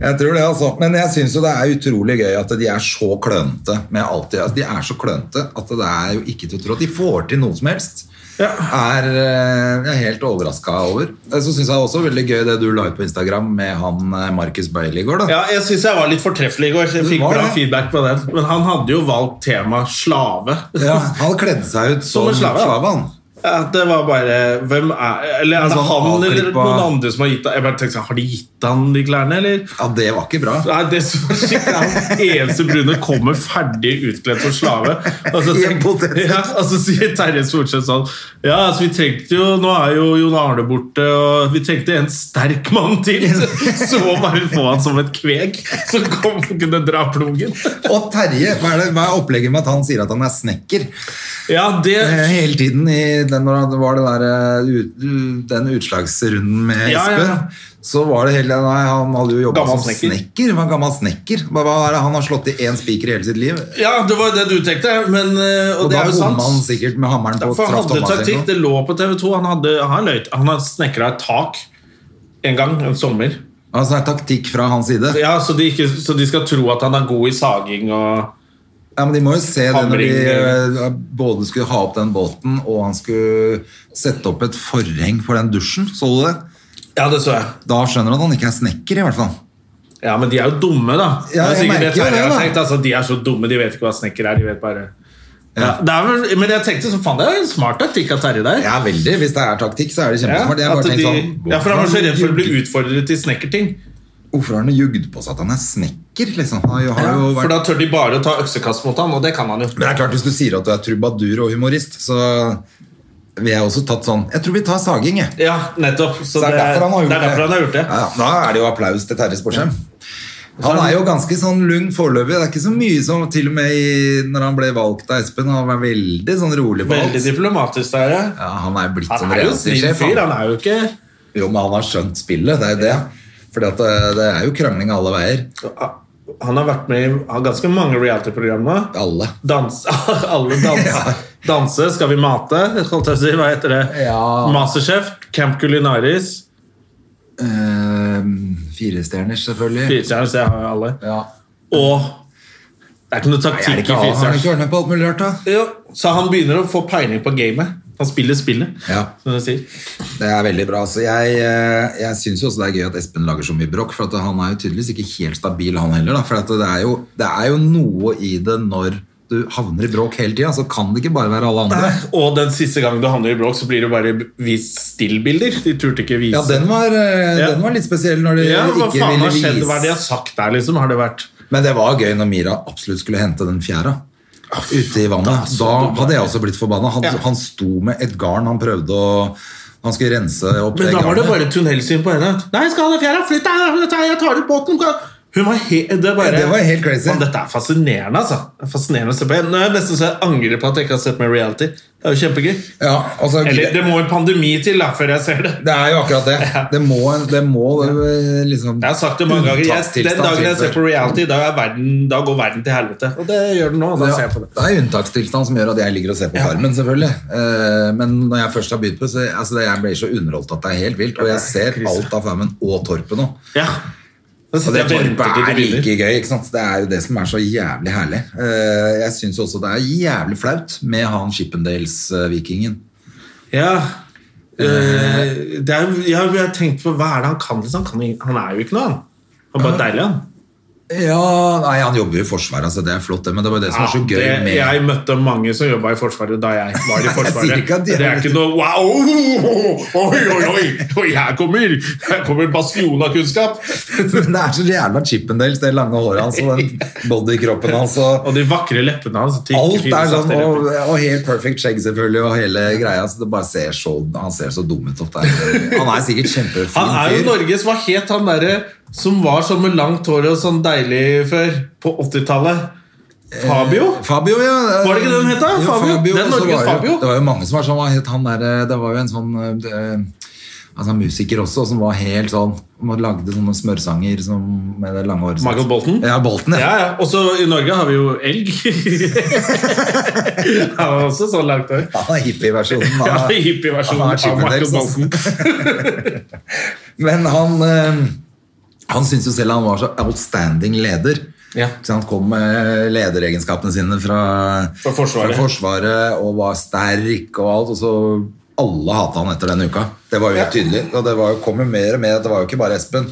S1: Jeg tror det, altså. Men jeg syns jo det er utrolig gøy at de er så klønete med alt de gjør. De er så klønete at det er jo ikke til å tro at de får til noe som helst.
S2: Ja.
S1: Er eh, jeg er helt overraska over. Eh, Så syns jeg også veldig gøy det du la ut på Instagram med han eh, Marcus Bale i går, da.
S2: Ja, jeg syns jeg var litt fortreffelig i går. Jeg
S1: Du
S2: fikk
S1: var
S2: bra
S1: det.
S2: feedback på den. Men han hadde jo valgt tema slave.
S1: Ja, han kledde seg ut som,
S2: Som en slave, ja.
S1: slave, han.
S2: Ja, det var bare Hvem er Eller er det
S1: sånn
S2: han eller
S1: avklippa-
S2: noen andre som har gitt han Jeg bare tenkte sånn, Har de gitt han de klærne, eller?
S1: Ja, det var ikke bra.
S2: Nei, det som var skikkelig Han eneste brune kommer ferdig utkledd som slave. Og så,
S1: I en potetsekk.
S2: ja, og så sier Terje Stortseth sånn Ja, altså, vi trengte jo Nå er jo Jon Arne borte, og vi trengte en sterk mann til. Så må bare få han som et kveg som kom og kunne dra plogen.
S1: Og Terje, hva er, det, hva er opplegget med at han sier at han er snekker?
S2: Ja, det
S1: Eh, Hele tiden i den, når det var det der, eh, ut, den utslagsrunden med
S2: Ja, ja,
S1: Espen,
S2: ja.
S1: så var det hele Nei, han hadde jo jobba
S2: Gammel
S1: som
S2: snekker.
S1: snekker. var gammel snekker. Hva, hva er det, han har slått i én spiker i hele sitt liv.
S2: Ja, det var det du tenkte, men, eh, og,
S1: Og
S2: det
S1: da
S2: er jo sant.
S1: bomma han sikkert med hammeren på
S2: For han
S1: traff
S2: hadde
S1: tommelen sin
S2: taktikk,
S1: nå.
S2: det lå på TV 2. Han hadde, han løyt, han hadde snekra et tak en gang, en sommer.
S1: Altså, det er taktikk fra hans side.
S2: Ja, så de, ikke, så de skal tro at han er god i saging og
S1: Ja, men De må jo se det når de
S2: Hamring.
S1: eh, både skulle ha opp den båten, og han skulle sette opp et forheng for den dusjen. Så du det?
S2: Ja, det så jeg.
S1: Da skjønner du at han ikke er snekker, i hvert fall.
S2: Ja, men de er jo dumme, da.
S1: Ja, jeg
S2: det er sikkert det
S1: merker jo
S2: Terje
S1: det,
S2: har
S1: da.
S2: tenkt. Altså, de er så dumme, de vet ikke hva snekker er. De vet bare ja. det er vel, Men jeg tenkte så faen, det er en smart taktikk av Terje der.
S1: Ja, veldig. Hvis det er taktikk, så er det
S2: Ja,
S1: kjempesmart. Jeg
S2: at
S1: bare
S2: de,
S1: tenkte sånn,
S2: ja, for han var så redd for å bli
S1: hvorfor-
S2: utfordret til snekkerting.
S1: Hvorfor har han jugd på seg at han er snekker? liksom? Han har
S2: Ja,
S1: jo
S2: for
S1: vært...
S2: da tør de bare å ta øksekast mot han, og det kan han jo.
S1: Men det er klart, Hvis du sier at du er trubadur og humorist, så vil jeg også tatt sånn Jeg tror vi tar saging, jeg.
S2: Ja, nettopp.
S1: Så
S2: Så, det,
S1: det er derfor han har gjort
S2: det er derfor han har gjort det.
S1: Ja, ja. Da er det jo applaus til Terje Sporsheim. Han er jo ganske sånn lung foreløpig. Det er ikke så mye som til og med i, når han ble valgt av Espen. Han var veldig sånn rolig på
S2: Veldig
S1: alt.
S2: diplomatisk der, ja.
S1: Ja, han er blitt
S2: Han
S1: som
S2: er jo snill
S1: reality-sjef.
S2: fyr,
S1: han.
S2: han er jo ikke
S1: Jo, men han har skjønt spillet. Det er jo det. Fordi at det, det er jo krangling alle veier.
S2: ah, Han har vært med i har ganske mange reality-program nå.
S1: Alle.
S2: Dans, alle dans, danse, Skal vi mate? Holdt jeg på å si, hva heter det?
S1: Ja.
S2: Masterchef, Camp Culinaris
S1: Uh, Firestjerners, selvfølgelig.
S2: Firestjerners, jeg har jo alle.
S1: Ja.
S2: Og det er ikke noe
S1: Nei, er det
S2: taktikk
S1: ikke
S2: i
S1: han? Har han ikke
S2: Firestjerners.
S1: vært med på alt mulig rart, da?
S2: Jo, Så han begynner å få peiling på gamet. Han spiller spillet,
S1: Ja.
S2: som de sier.
S1: Det er veldig bra. Så jeg eh, jeg syns jo også det er gøy at Espen lager så mye bråk, for at han er jo tydeligvis ikke helt stabil, han heller. Da. For at det, er jo, det er jo noe i det når du havner i bråk hele tida, så kan det ikke bare være alle andre.
S2: Og den siste gangen du handler i bråk, så blir det bare vist stillbilder. De turte ikke vise
S1: Ja, den var, eh,
S2: Ja.
S1: den var litt spesiell når de
S2: Ja, hva
S1: ikke
S2: faen
S1: ville
S2: har skjedd? Hva er det de har
S1: vise
S2: sagt der, liksom? Har det vært
S1: Men det var gøy når Mira absolutt skulle hente den fjæra.
S2: Ah,
S1: Ute i vannet. Da hadde jeg også blitt forbanna. Han,
S2: Ja.
S1: han sto med et garn han prøvde å Han skulle rense opp
S2: Men
S1: det
S2: da var det
S1: garnet.
S2: bare tunnelsyn på henne. Nei, skal ha den fjerde, flytt deg, flytt deg, jeg tar ut båten. gå!» Hun var he det, er bare,
S1: Ja, det var helt crazy.
S2: Man, dette er fascinerende, altså. Det er fascinerende å se på. Nå er jeg nesten så jeg angrer på at jeg ikke har sett mer reality. Det er jo kjempegøy.
S1: Ja, altså,
S2: Eller det må en pandemi til da, før jeg ser det.
S1: Det er jo akkurat det. Det må, det må eh, liksom
S2: Jeg har sagt det mange ganger. Jeg, den
S1: Unntakstilstand
S2: dagen jeg ser
S1: tilfør.
S2: på reality, da, er verden, da går verden til helvete. Og det gjør den nå. Da ser jeg på det.
S1: det er unntakstilstand som gjør at jeg ligger og ser på Farmen, selvfølgelig. Eh, Men når jeg først har begynt på det, så altså, det- jeg blir så underholdt at det er helt vilt. Og jeg ser
S2: krise.
S1: alt av Farmen og Torpet nå.
S2: Ja. Da
S1: Og
S2: sitter
S1: det
S2: jeg og venter til
S1: Torpet
S2: de
S1: er
S2: begynner.
S1: like gøy, ikke sant. Det er jo det som er så jævlig herlig. Eh, Jeg syns også det er jævlig flaut med han Chippendales-vikingen.
S2: Ja. Eh, det er, jo- jeg har tenkt på hva er det han kan? Liksom? Han kan ing- han er jo ikke noe, han. Han er bare deilig, han.
S1: Ja, nei, han jobber jo i Forsvaret, så det er flott, det. Men det var jo det som var så
S2: Ja,
S1: gøy
S2: det,
S1: med
S2: Jeg møtte mange som jobba i Forsvaret da jeg var i
S1: Jeg
S2: Forsvaret.
S1: sier ikke at de er-
S2: det er ikke noe wow! Oi, oi, oi! oi her, kommer, her kommer bastion av kunnskap!
S1: Men det er så jævla Chippendales, det lange håret hans og den bodykroppen hans. Og
S2: Og de vakre leppene hans. de
S1: alt er
S2: ikke finnes
S1: sånn,
S2: etter
S1: og,
S2: leppene.
S1: og helt perfect skjegg selvfølgelig, og hele greia. Så det bare ser så, han ser så dum ut opp der. Han er sikkert
S2: Han
S1: kjempefin
S2: er jo
S1: fyr.
S2: Norges Hva het han derre som var sånn med langt hår og sånn deilig før? På 80-tallet? Fabio?
S1: Fabio, ja.
S2: Var det ikke det den het da?
S1: Jo,
S2: Fabio? Det
S1: og
S2: er
S1: så
S2: Norges
S1: var jo-
S2: Fabio.
S1: Det var jo mange som var sånn, hva het han der, det var jo en sånn... eh, altså, musiker også, som var helt sånn Man lagde sånne smørsanger som, med det lange håret sitt.
S2: Michael Bolton?
S1: Ja, Bolton, ja.
S2: Ja, ja. Også i Norge har vi jo elg. Han har også sånn langt hår.
S1: Han er hippieversjonen av
S2: Ja, Hippieversjonen
S1: Han er
S2: av Michael
S1: Chippendales, altså.
S2: Bolton.
S1: Men han, eh, han syntes jo selv han var så outstanding leder.
S2: Ja.
S1: Så han kom med lederegenskapene sine fra,
S2: Fra Forsvaret.
S1: fra Forsvaret og var sterk og alt. Og så alle hata han etter den uka. Det var jo helt tydelig. Og det var jo, kom jo mer og mer at det var jo ikke bare Espen.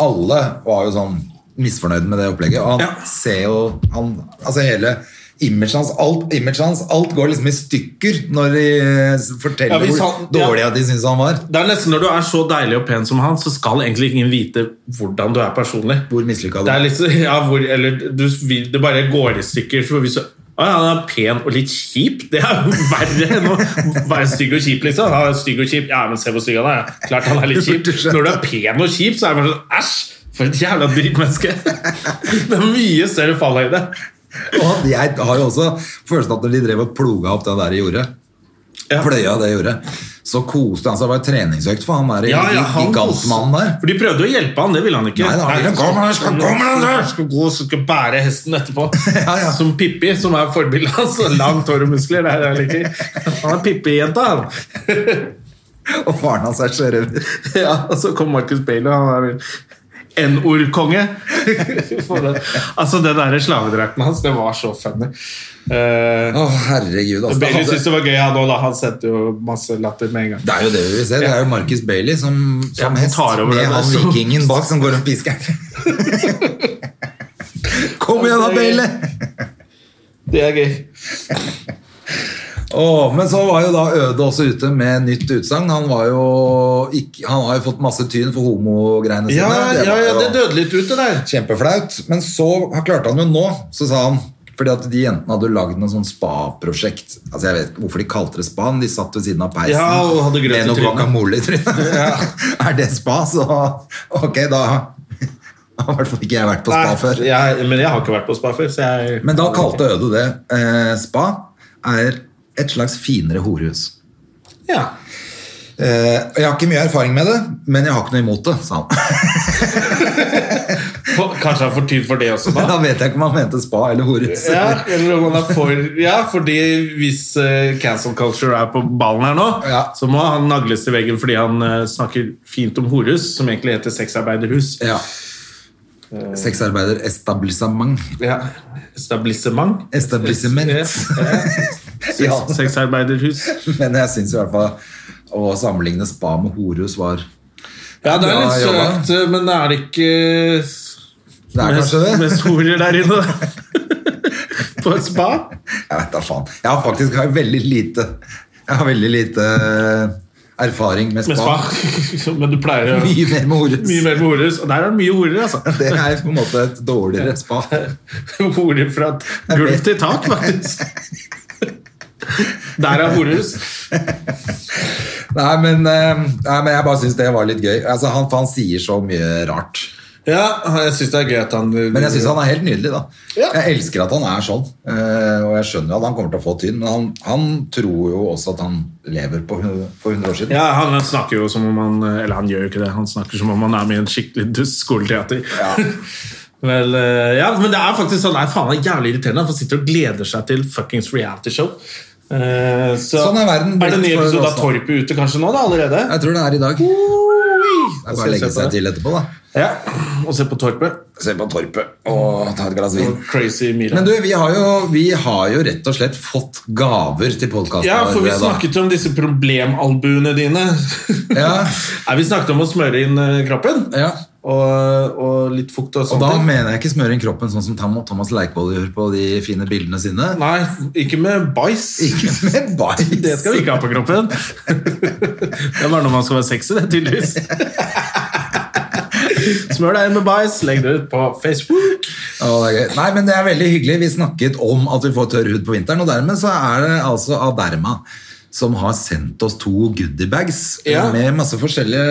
S1: Alle var jo sånn misfornøyd med det opplegget. Og han
S2: Ja.
S1: ser jo han, Altså hele imaget hans, alt, image hans, alt går liksom i stykker når de eh,
S2: Ja,
S1: forteller
S2: hvis
S1: hvor
S2: han- ja.
S1: dårlig de syns han var.
S2: Det er nesten Når du er så deilig og pen som han, så skal egentlig ingen vite hvordan du er personlig.
S1: Hvor mislykka
S2: Det
S1: det
S2: er litt, så- ja, hvor, eller du, vil- det bare går i stykker. For hvis du, å ja, han er pen og litt kjip. Det er jo verre enn å være stygg og kjip. liksom. Han er stygg og kjip. Ja, men se hvor stygg han er. Klart han er litt kjip. Når du er pen og kjip, så er det bare sånn æsj! For et jævla drittmenneske. Det er mye større fallhøyde.
S1: Og jeg har jo også følelsen at når de drev og ploga opp det der jordet,
S2: Ja.
S1: pløya det jordet, så koste han seg. Det var treningsøkt for han der
S2: Ja, ja, han
S1: gigantmannen der.
S2: For de prøvde å hjelpe han, det ville han ikke.
S1: Nei, da, han ville, «Kom her, skal- kom her, da!»
S2: skal gå, så skal bære hesten etterpå.
S1: Ja, ja.
S2: Som Pippi, som er forbildet hans. Langt hår og muskler. Det er det jeg liker. Han er Pippi-jenta, han.
S1: Og faren hans er sjørøver.
S2: Ja, og så kom Marcus Bailey, og han er vel N-ordkonge. For det- altså, den derre slavedrakten hans, det var så funny. Eh,
S1: Å, herregud. Altså,
S2: Bailey
S1: det,
S2: syntes det var gøy, han òg, da. Han sendte jo masse latter med en gang.
S1: det er jo det vi vil se. Det er jo Marcus Bailey som, som
S2: Ja,
S1: hest
S2: tar over altså.
S1: med
S2: det der,
S1: han
S2: som-
S1: vikingen bak som går og pisker. Kom igjen da, Bailey!
S2: Det er gøy.
S1: Åh, men så var jo da Øde også ute med nytt utsagn. Han, var jo ikke- han har jo fått masse tyn for homogreiene sine.
S2: Ja,
S1: Det
S2: ja,
S1: var
S2: ja,
S1: jo-
S2: det døde litt ut, det der.
S1: Kjempeflaut. Men så klarte han jo nå, så sa han fordi at de jentene hadde lagd noe sånn spa-prosjekt. Altså Jeg vet ikke hvorfor de kalte det spa, men de satt ved siden av peisen
S2: Ja, og hadde grøt i
S1: med noe
S2: trynet.
S1: guacamole i trynet. er det spa, så ok, da har i hvert fall ikke jeg vært på spa
S2: Nei,
S1: før.
S2: Jeg, men jeg har ikke vært på spa før, så jeg
S1: Men da kalte Øde det eh, spa er et slags finere horehus.
S2: Ja.
S1: Eh, og jeg har ikke mye erfaring med det, men jeg har ikke noe imot det, sa han.
S2: På- Kanskje han får tid for det også, da?
S1: da vet jeg ikke om han mente spa eller horehus.
S2: Ja, eller om han er for, ja, fordi hvis eh, cancel culture er på ballen her nå,
S1: Ja.
S2: så må han nagles til veggen fordi han eh, snakker fint om horehus, som egentlig heter sexarbeiderhus.
S1: Ja.
S2: Eh.
S1: Sexarbeider establissement.
S2: Ja. Establissement.
S1: Establissement.
S2: Ja, ja. Sex,
S1: Ja.
S2: Sexarbeiderhus.
S1: Men jeg syns i hvert fall å sammenligne spa med horehus var
S2: Ja, det er
S1: Bra
S2: litt
S1: jobba.
S2: søkt, men er det ikke eh,
S1: Det er
S2: mest,
S1: kanskje det?
S2: mest horer der inne? På et spa?
S1: Jeg vet da faen. Jeg har faktisk har veldig lite Jeg har veldig lite eh, erfaring med
S2: Med
S1: spa.
S2: spa. Men du pleier å
S1: Mye mer med
S2: Mye
S1: horehus.
S2: mer med horer. Og der er det mye horer, altså.
S1: Det er på en måte et dårligere spa.
S2: Horer fra gulv til tak, faktisk. Der er horehus.
S1: Nei, men, eh, nei, men jeg bare syns det var litt gøy. Altså, han, for han sier så mye rart.
S2: Ja, jeg syns det er gøy at han
S1: Men jeg syns han er helt nydelig, da.
S2: Ja.
S1: Jeg elsker at han er sånn. eh, Og jeg skjønner at han kommer til å få tyn, men han, han tror jo også at han lever på, hu- for 100 år siden.
S2: ja, han snakker jo som om han Eller han gjør jo ikke det, han snakker som om han er med i en skikkelig dust skoleteater. Vel, eh, ja, men det er faktisk sånn Nei, faen, han er jævlig irriterende. Han sitter og gleder seg til fuckings realityshow. Eh, så,
S1: Sånn er verden
S2: Er det en ny
S1: blitt for
S2: episode
S1: oss nå.
S2: av Torpet ute kanskje nå, da? Allerede?
S1: Jeg tror det er i dag. Det er bare å legge seg til etterpå, da.
S2: Ja, og se på Torpet.
S1: Se på Torpet og ta et glass vin.
S2: Og Crazy Mira.
S1: Men du, vi har jo, vi har jo rett og slett fått gaver til podkasten.
S2: ja, for vi snakket jo om disse problemalbuene dine.
S1: Ja.
S2: Nei, vi snakket om å smøre inn eh, kroppen.
S1: Ja.
S2: Og, og litt fukt og
S1: Og
S2: sånt.
S1: da mener jeg ikke smøre inn kroppen sånn som Tam- Thomas Leikvoll gjør på de fine bildene sine.
S2: Nei, ikke med bæsj.
S1: Ikke med bajs.
S2: Det skal vi ikke ha på kroppen. Det er bare når man skal være sexy, det, tydeligvis. Smør deg inn med bæsj, legg det ut på Facebook.
S1: Å, det er gøy. Nei, men det er veldig hyggelig. Vi snakket om at vi får tørr hud på vinteren, og dermed så er det altså Aderma som har sendt oss to goodiebags
S2: Ja.
S1: med masse forskjellige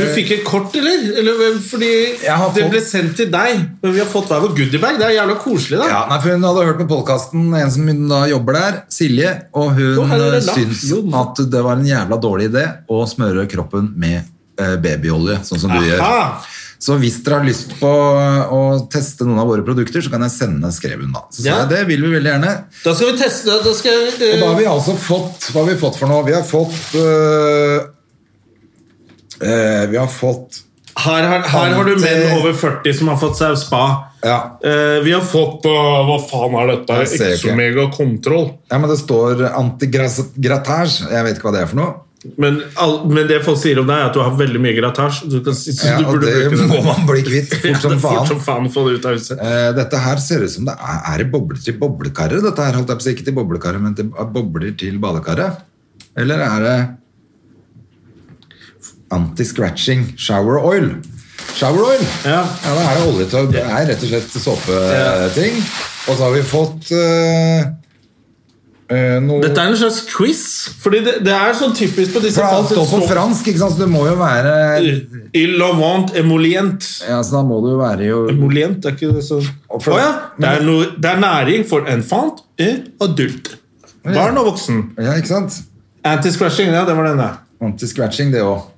S2: Du fikk et kort, eller? eller hvem- fordi
S1: Jeg har
S2: det
S1: fått-
S2: ble sendt til deg, men vi har fått hver vår goodiebag. Det er jævla koselig, da.
S1: ja, nei, for Hun hadde hørt på podkasten, en som hun da jobber der, Silje, og hun eh,
S2: Å, her er det lapp.
S1: syntes
S2: Jo.
S1: at det var en jævla dårlig idé å smøre kroppen med eh, babyolje, sånn som du gjør.
S2: Aha!
S1: Så hvis dere har lyst på å teste noen av våre produkter, så kan jeg sende skreven da. Så sa
S2: Ja.
S1: jeg, det vil vi veldig gjerne.
S2: Da skal vi teste det. Da skal vi,
S1: Og da har vi altså fått Hva har vi fått for noe? Vi har fått eh, eh, Vi har fått
S2: her, her, her har du
S1: eh,
S2: menn over 40 som har fått seg spa.
S1: Ja.
S2: Eh, vi har fått eh, Hva faen er dette?
S1: Jeg ser ikke.
S2: Exomega Control.
S1: ja, men det står antigratage. Jeg vet ikke hva det er for noe.
S2: Men, all, men det folk sier om deg, er at du har veldig mye gratasje. Du kan, si- så
S1: Ja,
S2: du
S1: og
S2: burde
S1: det
S2: bruke
S1: må
S2: den.
S1: man bli kvitt
S2: Ja,
S1: fort som
S2: det er Fort
S1: faen.
S2: som faen få det ut av huset.
S1: Eh, dette her ser ut som det er, er det bobler til boblekaret. Dette her holdt jeg på å si ikke til boblekaret, men til er bobler til badekaret. Eller er det anti-scratching shower oil? Shower oil!
S2: Ja.
S1: det her er olje til Det er rett og slett såpeting. Og så har vi fått eh, eh, noe
S2: Dette er en slags quiz. Fordi det, det er sånn typisk på disse
S1: For alt står på fransk, ikke sant? så det må jo være
S2: Il Levant Emolient.
S1: ja, så Da må det jo være jo
S2: Emolient er ikke det sånn Å
S1: Og for-
S2: ja! Det er, noe, det er næring for enfant og adult. Barn og voksen.
S1: Ja, ikke sant?
S2: Anti-scratching, ja, det var den der.
S1: Anti-scratching, det òg.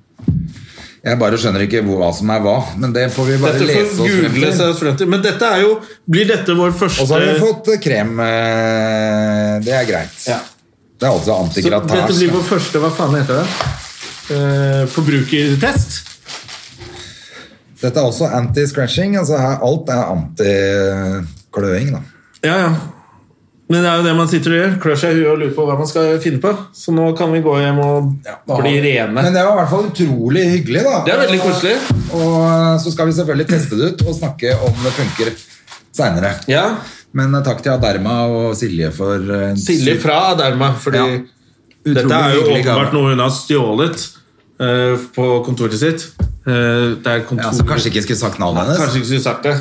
S1: Jeg bare skjønner ikke hvor- hva som er hva, men det får vi bare
S2: Dette
S1: lese
S2: får
S1: oss frem
S2: google
S1: til.
S2: seg frem til. Men dette er jo Blir dette vår første
S1: Og så har vi fått eh, krem. eh, Det er greit.
S2: Ja.
S1: Det er altså
S2: Så dette blir
S1: antigratasje.
S2: vår første Hva faen heter det? Eh, forbrukertest.
S1: Dette er også anti-scratching. Altså her, alt er anti-kløing, da.
S2: Ja, ja. Men det er jo det man sitter og gjør. Klør seg i huet og lurer på hva man skal finne på. Så nå kan vi gå hjem og
S1: Da har-
S2: bli rene.
S1: Men det var i hvert fall utrolig hyggelig, da.
S2: Det er veldig koselig.
S1: Og eh, så skal vi selvfølgelig teste det ut og snakke om det funker seinere.
S2: Ja.
S1: Men eh, takk til Aderma og Silje for eh, en
S2: Silje fra Derma, fordi
S1: Ja. utrolig
S2: dette er jo
S1: hyggelig gave.
S2: åpenbart noe hun har stjålet eh, på kontoret sitt. Eh, det er kontor...
S1: Ja, så kanskje ikke skulle sagt navnet hennes.
S2: Kanskje ikke skulle sagt det.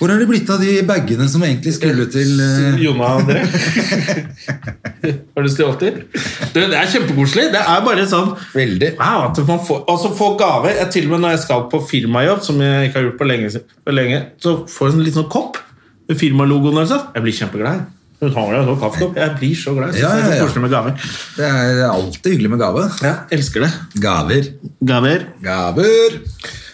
S1: Hvor er det blitt av de bagene som egentlig skulle til eh,
S2: Jonna og André. Har du stjålet dem? Det det er kjempekoselig. Det er bare sånn
S1: Veldig.
S2: Wow, at man får, altså får gave. Jeg, til og med når jeg skal på firmajobb, som jeg ikke har gjort på lenge, på lenge så får jeg en liten sånn kopp med firmalogoen. Altså. Jeg blir kjempeglad. Hun har jo en sånn kaffekopp. Jeg blir så glad. Jeg synes
S1: Ja, ja,
S2: det er
S1: ja.
S2: så koselig med gaver.
S1: Det er alltid hyggelig med gave.
S2: Jeg elsker det.
S1: Gaver.
S2: Gaver.
S1: Gaver!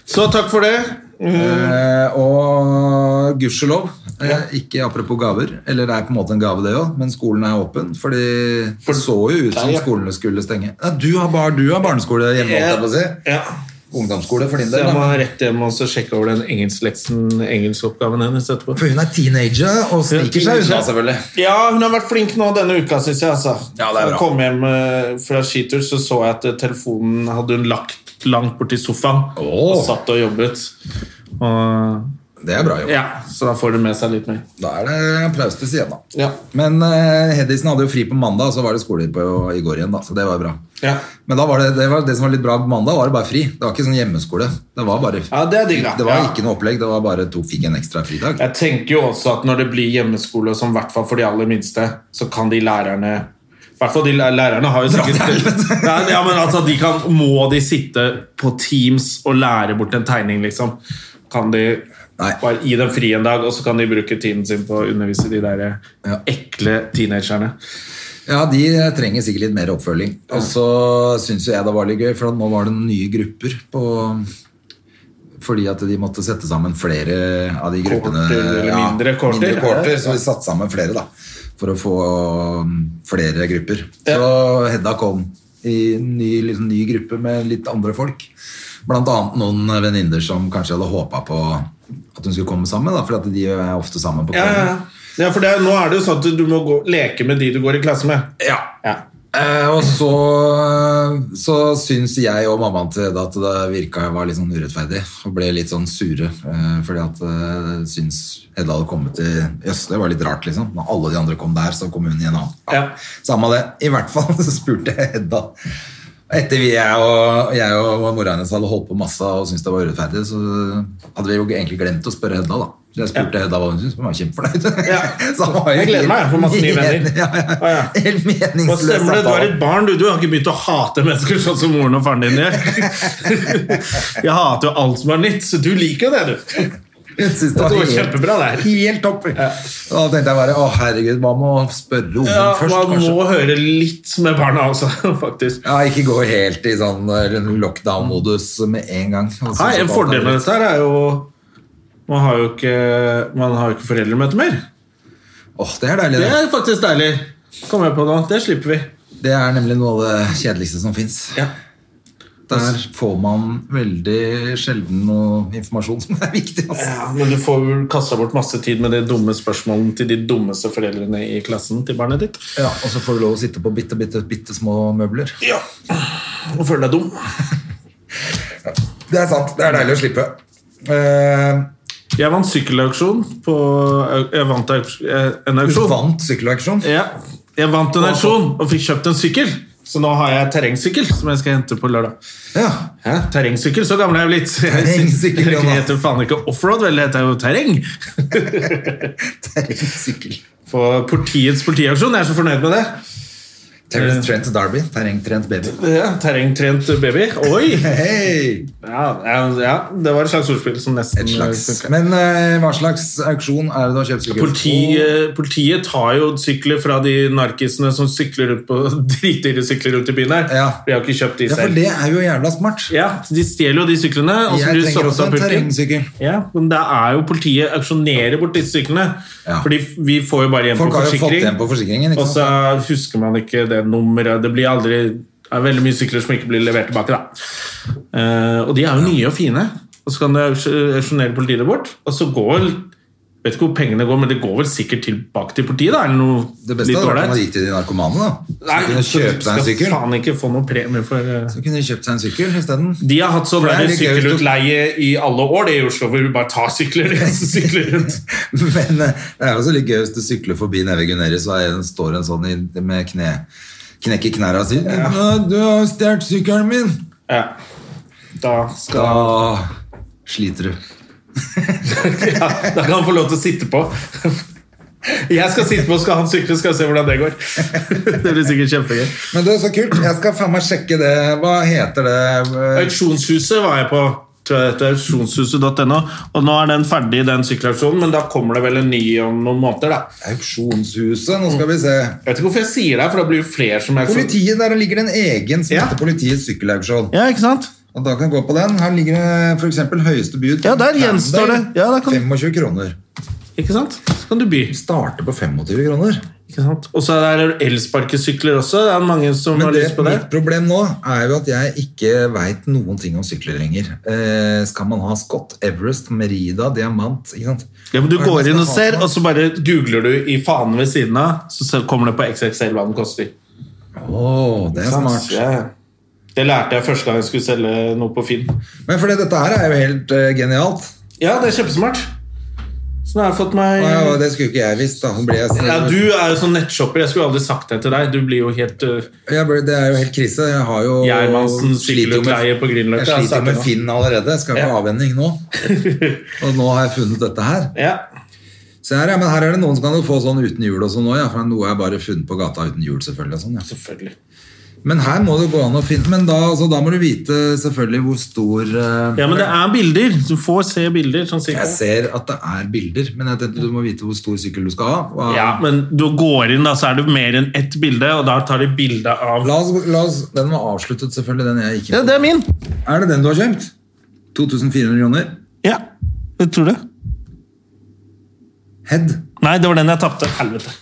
S2: Så takk for det.
S1: Eh, og gudskjelov. Eh, ikke apropos gaver, eller det er på en måte en gave, det òg, men skolen er åpen. For det så jo ut som
S2: ja.
S1: skolene skulle stenge. Ja, du, har bar, du har barneskole hjemme, holdt jeg på å si.
S2: Ja.
S1: Ungdomsskole for din
S2: Så
S1: del.
S2: jeg må
S1: da.
S2: rett hjem og så sjekke over den engelskleksen, engelskoppgaven hennes etterpå.
S1: For hun er teenager og sniker seg unna,
S2: teenager.
S1: selvfølgelig.
S2: Ja, hun har vært flink nå denne uka, syns jeg. Altså.
S1: Ja, det er bra.
S2: Jeg kom hjem eh, fra skitur, så så jeg at eh, telefonen hadde hun lagt langt borti sofaen.
S1: Åh.
S2: Og satt og jobbet. Og,
S1: Det er bra jobb.
S2: ja, så da får hun med seg litt mer.
S1: Da er det applaus til Siena.
S2: Ja.
S1: Men eh, Hedisen hadde jo fri på mandag, og så var det skole på, i går igjen, da, så det var bra.
S2: Ja.
S1: Men da var det, det, var det som var litt bra på mandag, var det bare fri. Det var ikke sånn hjemmeskole. Det var bare
S2: Ja, det er digg, da.
S1: Det var
S2: Ja.
S1: ikke noe opplegg, det var bare to fikk en ekstra fridag.
S2: Jeg tenker jo også at når det blir hjemmeskole, som i hvert fall for de aller minste, så kan de lærerne i hvert fall de læ- lærerne har jo sikkert Nei, ja, men altså, de kan, Må de sitte på Teams og lære bort en tegning, liksom? Kan de
S1: Nei.
S2: bare gi dem fri en dag, og så kan de bruke tiden sin på å undervise de der eh,
S1: Ja.
S2: ekle teenagerne?
S1: Ja, de trenger sikkert litt mer oppfølging. Og så syns jo jeg det var litt gøy, for nå var det noen nye grupper på fordi at de måtte sette sammen flere av de gruppene.
S2: Korter eller mindre korter,
S1: mindre
S2: ja.
S1: korter, Så vi satte sammen flere, da. For å få um, flere grupper. Så Hedda kom i en ny, liksom, ny gruppe med litt andre folk. Blant annet noen venninner som kanskje hadde håpa på at hun skulle komme sammen, da, for at de er ofte sammen på
S2: Ja, ja,
S1: kvelden.
S2: ja. ja for det, er- nå er det jo sånn at du må gå, leke med de du går i klasse med.
S1: Ja.
S2: Ja.
S1: Eh, og så, så syns jeg og mammaen til Edda at det virka var litt sånn urettferdig. Og ble litt sånn sure. Eh, fordi at eh, syns Edda hadde kommet til Jøss, det var litt rart, liksom. Når alle de andre kom der, så kom hun i en annen.
S2: Ja.
S1: Samme det. I hvert fall så spurte jeg Edda. Etter vi, jeg og, jeg og mora hennes hadde holdt på masse og syntes det var urettferdig, så hadde vi jo egentlig glemt å spørre Hedda, da. Så jeg spurte Hedda hva hun syntes, hun var kjempefornøyd.
S2: Ja.
S1: Så han var jo
S2: Jeg gleder
S1: helt-
S2: meg, jeg får masse nye venner.
S1: Ja, ja.
S2: Å, ja.
S1: Helt
S2: Hva
S1: meningsløs
S2: stemmer det? Du er
S1: samtale.
S2: et barn, du. Du har ikke begynt å hate mennesker sånn som moren og faren din gjør. Jeg hater jo alt som er nytt, så du liker jo det, du.
S1: Jeg synes det var,
S2: Det var
S1: helt-
S2: kjempebra, det her.
S1: Helt topp. Da tenkte jeg bare å herregud, hva med å spørre ungen
S2: Ja,
S1: først?
S2: man
S1: kanskje?
S2: må høre litt med barna også, faktisk.
S1: Ja, ikke gå helt i sånn eh, lockdown-modus med en gang. Altså,
S2: Nei, en
S1: så-
S2: fordel med dette her er jo Man har jo ikke, man har jo ikke foreldremøte mer.
S1: Åh, det er deilig,
S2: Det
S1: det.
S2: er faktisk deilig. Kom jeg på nå. Det slipper vi.
S1: Det er nemlig noe av det kjedeligste som fins.
S2: Ja.
S1: Der får man veldig sjelden noe informasjon som er viktig. Altså.
S2: men du får vel kasta bort masse tid med de dumme spørsmålene til de dummeste foreldrene i klassen til barnet ditt.
S1: Ja, og så får du lov å sitte på bitte, bitte, bitte små møbler.
S2: Ja. Og føle deg dum.
S1: Det er sant. Det er deilig å slippe. Eh,
S2: Jeg vant sykkelauksjon på Jeg vant auks- eh, en
S1: du
S2: auksjon.
S1: vant sykkelauksjon.
S2: Ja. Jeg vant en auksjon og fikk kjøpt en sykkel. Så nå har jeg terrengsykkel som jeg skal hente på lørdag.
S1: Ja.
S2: Hæ? Terrengsykkel, så gammel er jeg jo litt.
S1: Terrengsykkel,
S2: Jeg
S1: Jonas.
S2: heter faen ikke offroad, vel, det heter jo terreng.
S1: Terrengsykkel.
S2: På politiets politiaksjon, jeg er så fornøyd med det.
S1: Terence Eh, Trent Darby. Terrengtrent baby.
S2: Ja, terrengtrent baby. Oi!
S1: Hei!
S2: Ja, ja, ja, det var et slags ordspill som nesten
S1: Et slags.
S2: funket.
S1: Men eh, hva slags auksjon er det du har kjøpt sykkel
S2: Politiet, politiet tar jo sykler fra de narkisene som sykler rundt på dritdyre sykler rundt i byen her.
S1: Ja.
S2: De har ikke kjøpt de
S1: Ja, for
S2: selv.
S1: det er jo jævla smart.
S2: Ja, De stjeler jo de syklene. Og så
S1: Jeg
S2: blir de
S1: trenger
S2: stoppet
S1: også
S2: av
S1: en
S2: purken.
S1: terrengsykkel.
S2: Ja, men det er jo politiet auksjonerer bort disse syklene.
S1: Ja.
S2: Fordi vi får jo bare igjen på
S1: Folk har jo fått
S2: forsikring.
S1: igjen på forsikringen.
S2: Og
S1: Ikke
S2: så
S1: sant?
S2: husker man ikke det nummeret. Det blir aldri det er veldig mye sykler som ikke blir levert tilbake. da. Eh, og de er jo nye og fine. Og så kan du auksj- auksjonere politiet det bort, og så går vel Vet ikke hvor pengene går, men det går vel sikkert tilbake til politiet? da, eller noe
S1: Det beste
S2: litt
S1: hadde vært om man
S2: ålreit.
S1: gikk til de narkomane. da. Så
S2: Nei,
S1: kunne
S2: så
S1: kjøpe
S2: du
S1: seg en
S2: skal
S1: sykkel.
S2: faen ikke få noe premie for eh.
S1: Så kunne de kjøpt seg en sykkel isteden.
S2: De har hatt sånn
S1: For det er
S2: der
S1: litt gøy hvis du-
S2: sykkelutleie i alle år, det i Oslo, hvor vi bare tar sykler og sykler rundt.
S1: Men eh, det er også litt gøy hvis du sykler forbi nede ved Gunerius, og en står en sånn i, med kne, knekk i knærne og sier «Nå, 'Du har stjålet sykkelen min!'
S2: Ja. Da skal
S1: Da sliter du.
S2: Ja, da kan han få lov til å sitte på. Jeg skal sitte på, skal han sykle, skal vi se hvordan det går. Det blir sikkert kjempegøy.
S1: Men det er så kult. Jeg skal faen meg sjekke det. Hva heter det?
S2: Auksjonshuset var jeg på. Tror jeg det heter auksjonshuset.no. Og nå er den ferdig, den sykkelauksjonen, men da kommer det vel en ny om noen måneder, da.
S1: Auksjonshuset. Nå skal vi se.
S2: Jeg vet ikke hvorfor jeg sier det, for da blir det flere som er
S1: Politiet, Der ligger det en egen som
S2: Ja.
S1: heter Politiets sykkelauksjon.
S2: Ja, ikke sant?
S1: Og da kan jeg gå på den. Her ligger det for eksempel høyeste bud.
S2: Ja, der gjenstår det. Ja, der kan-
S1: 25 kroner.
S2: Ikke sant? Så kan du by.
S1: Starter på 25 kroner.
S2: Ikke sant? Og så er det elsparkesykler også. Det er mange som
S1: Men
S2: har
S1: det,
S2: lyst på det.
S1: mitt problem nå er jo at jeg ikke veit noen ting om sykler lenger. Eh, skal man ha Scott Everest, Merida, Diamant ikke sant?
S2: Ja, men Du
S1: Hva er det man
S2: går
S1: skal
S2: inn og
S1: ha
S2: ser,
S1: for
S2: og
S1: noe?
S2: så bare googler du i fanen ved siden av, så så kommer det på XXL hva den koster.
S1: Åh, det er smart.
S2: Ja. Det lærte jeg første gang jeg skulle selge noe på Finn.
S1: Men fordi dette her er jo helt eh, genialt.
S2: Ja, det er kjempesmart. Så nå har jeg fått meg
S1: Å, ja, det skulle ikke jeg visst. da. Nå blir jeg,
S2: ja, Du er jo sånn nettshopper. Jeg skulle aldri sagt det til deg. Du blir jo helt uh,
S1: Jeg ble, det er jo helt krise. Jeg har jo
S2: Gjermansen
S1: sliter jo med-
S2: sykkelutleie på Grünerløkka.
S1: Jeg sliter jo med Finn allerede. Jeg skal på
S2: Ja.
S1: avvenning nå. Og nå har jeg funnet dette her.
S2: Ja.
S1: Se her, ja, men her er det noen som kan jo få sånn uten hjul og sånn òg, ja. For noe er bare funnet på gata uten hjul, selvfølgelig. og Sånn, ja.
S2: Selvfølgelig.
S1: Men her må det gå an å finne Men da, altså, da må du vite selvfølgelig hvor stor eh,
S2: Ja, men det er bilder. Du får se bilder. sånn cirka.
S1: Jeg ser at det er bilder, men jeg tenkte du må vite hvor stor sykkel du skal ha. Hva-
S2: Ja, men du går inn, da, så er det mer enn ett bilde, og da tar de bilde av
S1: La oss, la oss, den var avsluttet, selvfølgelig. Den jeg ikke
S2: Ja, det er min!
S1: Er det den du har kjøpt? 2400 kroner.
S2: Ja. Jeg tror det.
S1: Head.
S2: Nei, det var den jeg tapte. Helvete.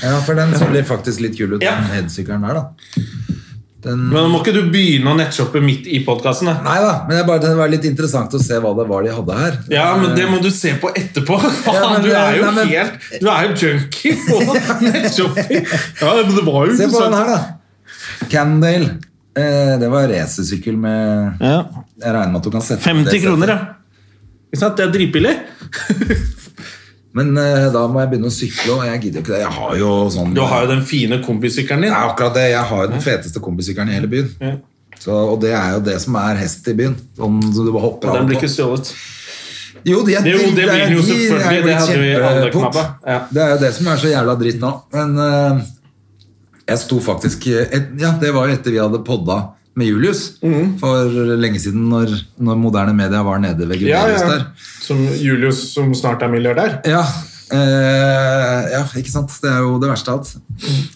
S1: Ja, for den så blir faktisk litt kul ut,
S2: Ja.
S1: den headsykkelen der, da. Den
S2: Men nå må ikke du begynne å nettshoppe midt i podkasten.
S1: Nei da, men jeg bare, det var litt interessant å se hva det var de hadde her.
S2: Ja, men det må du se på etterpå. Faen,
S1: Ja, men
S2: du
S1: det-
S2: er jo
S1: nei, men-
S2: helt Du er jo junkie på nettshopping! Ja, men det var jo
S1: Eh, Se på den
S2: interessant.
S1: her, da. Candale. Eh, det var racersykkel med
S2: Ja.
S1: Jeg regner med at du kan sette
S2: 50
S1: det-
S2: kroner, ja. Ikke sant? Det er dritbillig.
S1: Men eh, da må jeg begynne å sykle, og jeg gidder jo ikke det. Jeg har jo sånn
S2: Du har jo den fine kombisykkelen
S1: Det
S2: din.
S1: er akkurat det. Jeg har jo den feteste kombisykkelen i hele byen.
S2: Ja.
S1: Så, og det er jo det som er hest i byen. Sånn som du bare hopper
S2: Og den
S1: av
S2: blir
S1: på.
S2: ikke stjålet.
S1: Jo, de er
S2: Det- jo,
S1: dritt-
S2: det blir den
S1: de- de er
S2: jo selvfølgelig.
S1: jo
S2: Det hadde vi alle
S1: kjempepop.
S2: knappa. Ja.
S1: Det er jo det som er så jævla dritt eh, nå. Men eh, jeg sto faktisk et, Ja, det var jo etter vi hadde podda med Julius
S2: Mhm.
S1: for lenge siden, når, når moderne media var nede ved
S2: Ja,
S1: Guderius
S2: ja.
S1: der.
S2: Som Julius, som snart er milliardær.
S1: Ja, eh, ja, ikke sant? Det er jo det verste av alt.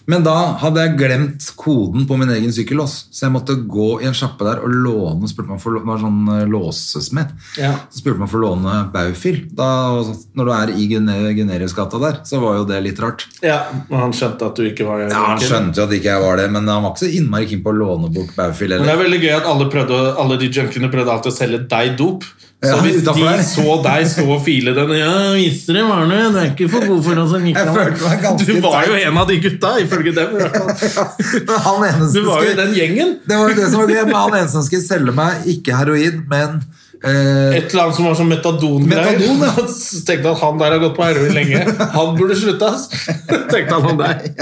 S1: Men da hadde jeg glemt koden på min egen sykkellås, så jeg måtte gå i en sjappe der og låne spurte man for, Det var sånn eh, låsesmed.
S2: Ja.
S1: Så spurte man for å låne Baufil. Da, altså, når du er i Gune- Guneriusgata der, så var jo det litt rart.
S2: Ja, Men han skjønte at du ikke var
S1: Ja, Han skjønte jo at ikke jeg var det, men han var ikke så innmari keen på å låne bort Baufil.
S2: Men det
S1: Eller.
S2: er veldig gøy at alle, prøvde, alle de junkiene prøvde alltid å selge deg dop. Så
S1: Ja,
S2: hvis
S1: utenfor
S2: de
S1: der.
S2: så deg stå og file den Ja, visste det, var det, det er ikke for god for oss å like
S1: Jeg
S2: den.
S1: følte meg ganske
S2: Du var jo
S1: teit.
S2: en av de gutta, ifølge dem. i hvert fall.
S1: Men han eneste
S2: Du var jo i
S1: skulle-
S2: den gjengen.
S1: Det var jo det som var gøy, men han eneste som skulle selge meg ikke heroin, men eh,
S2: Et eller annet som var sånn metadon-greier.
S1: Metadon, ja.
S2: Så Tenkte at han der har gått på heroin lenge. Han burde slutte, ass. Tenkte han om deg.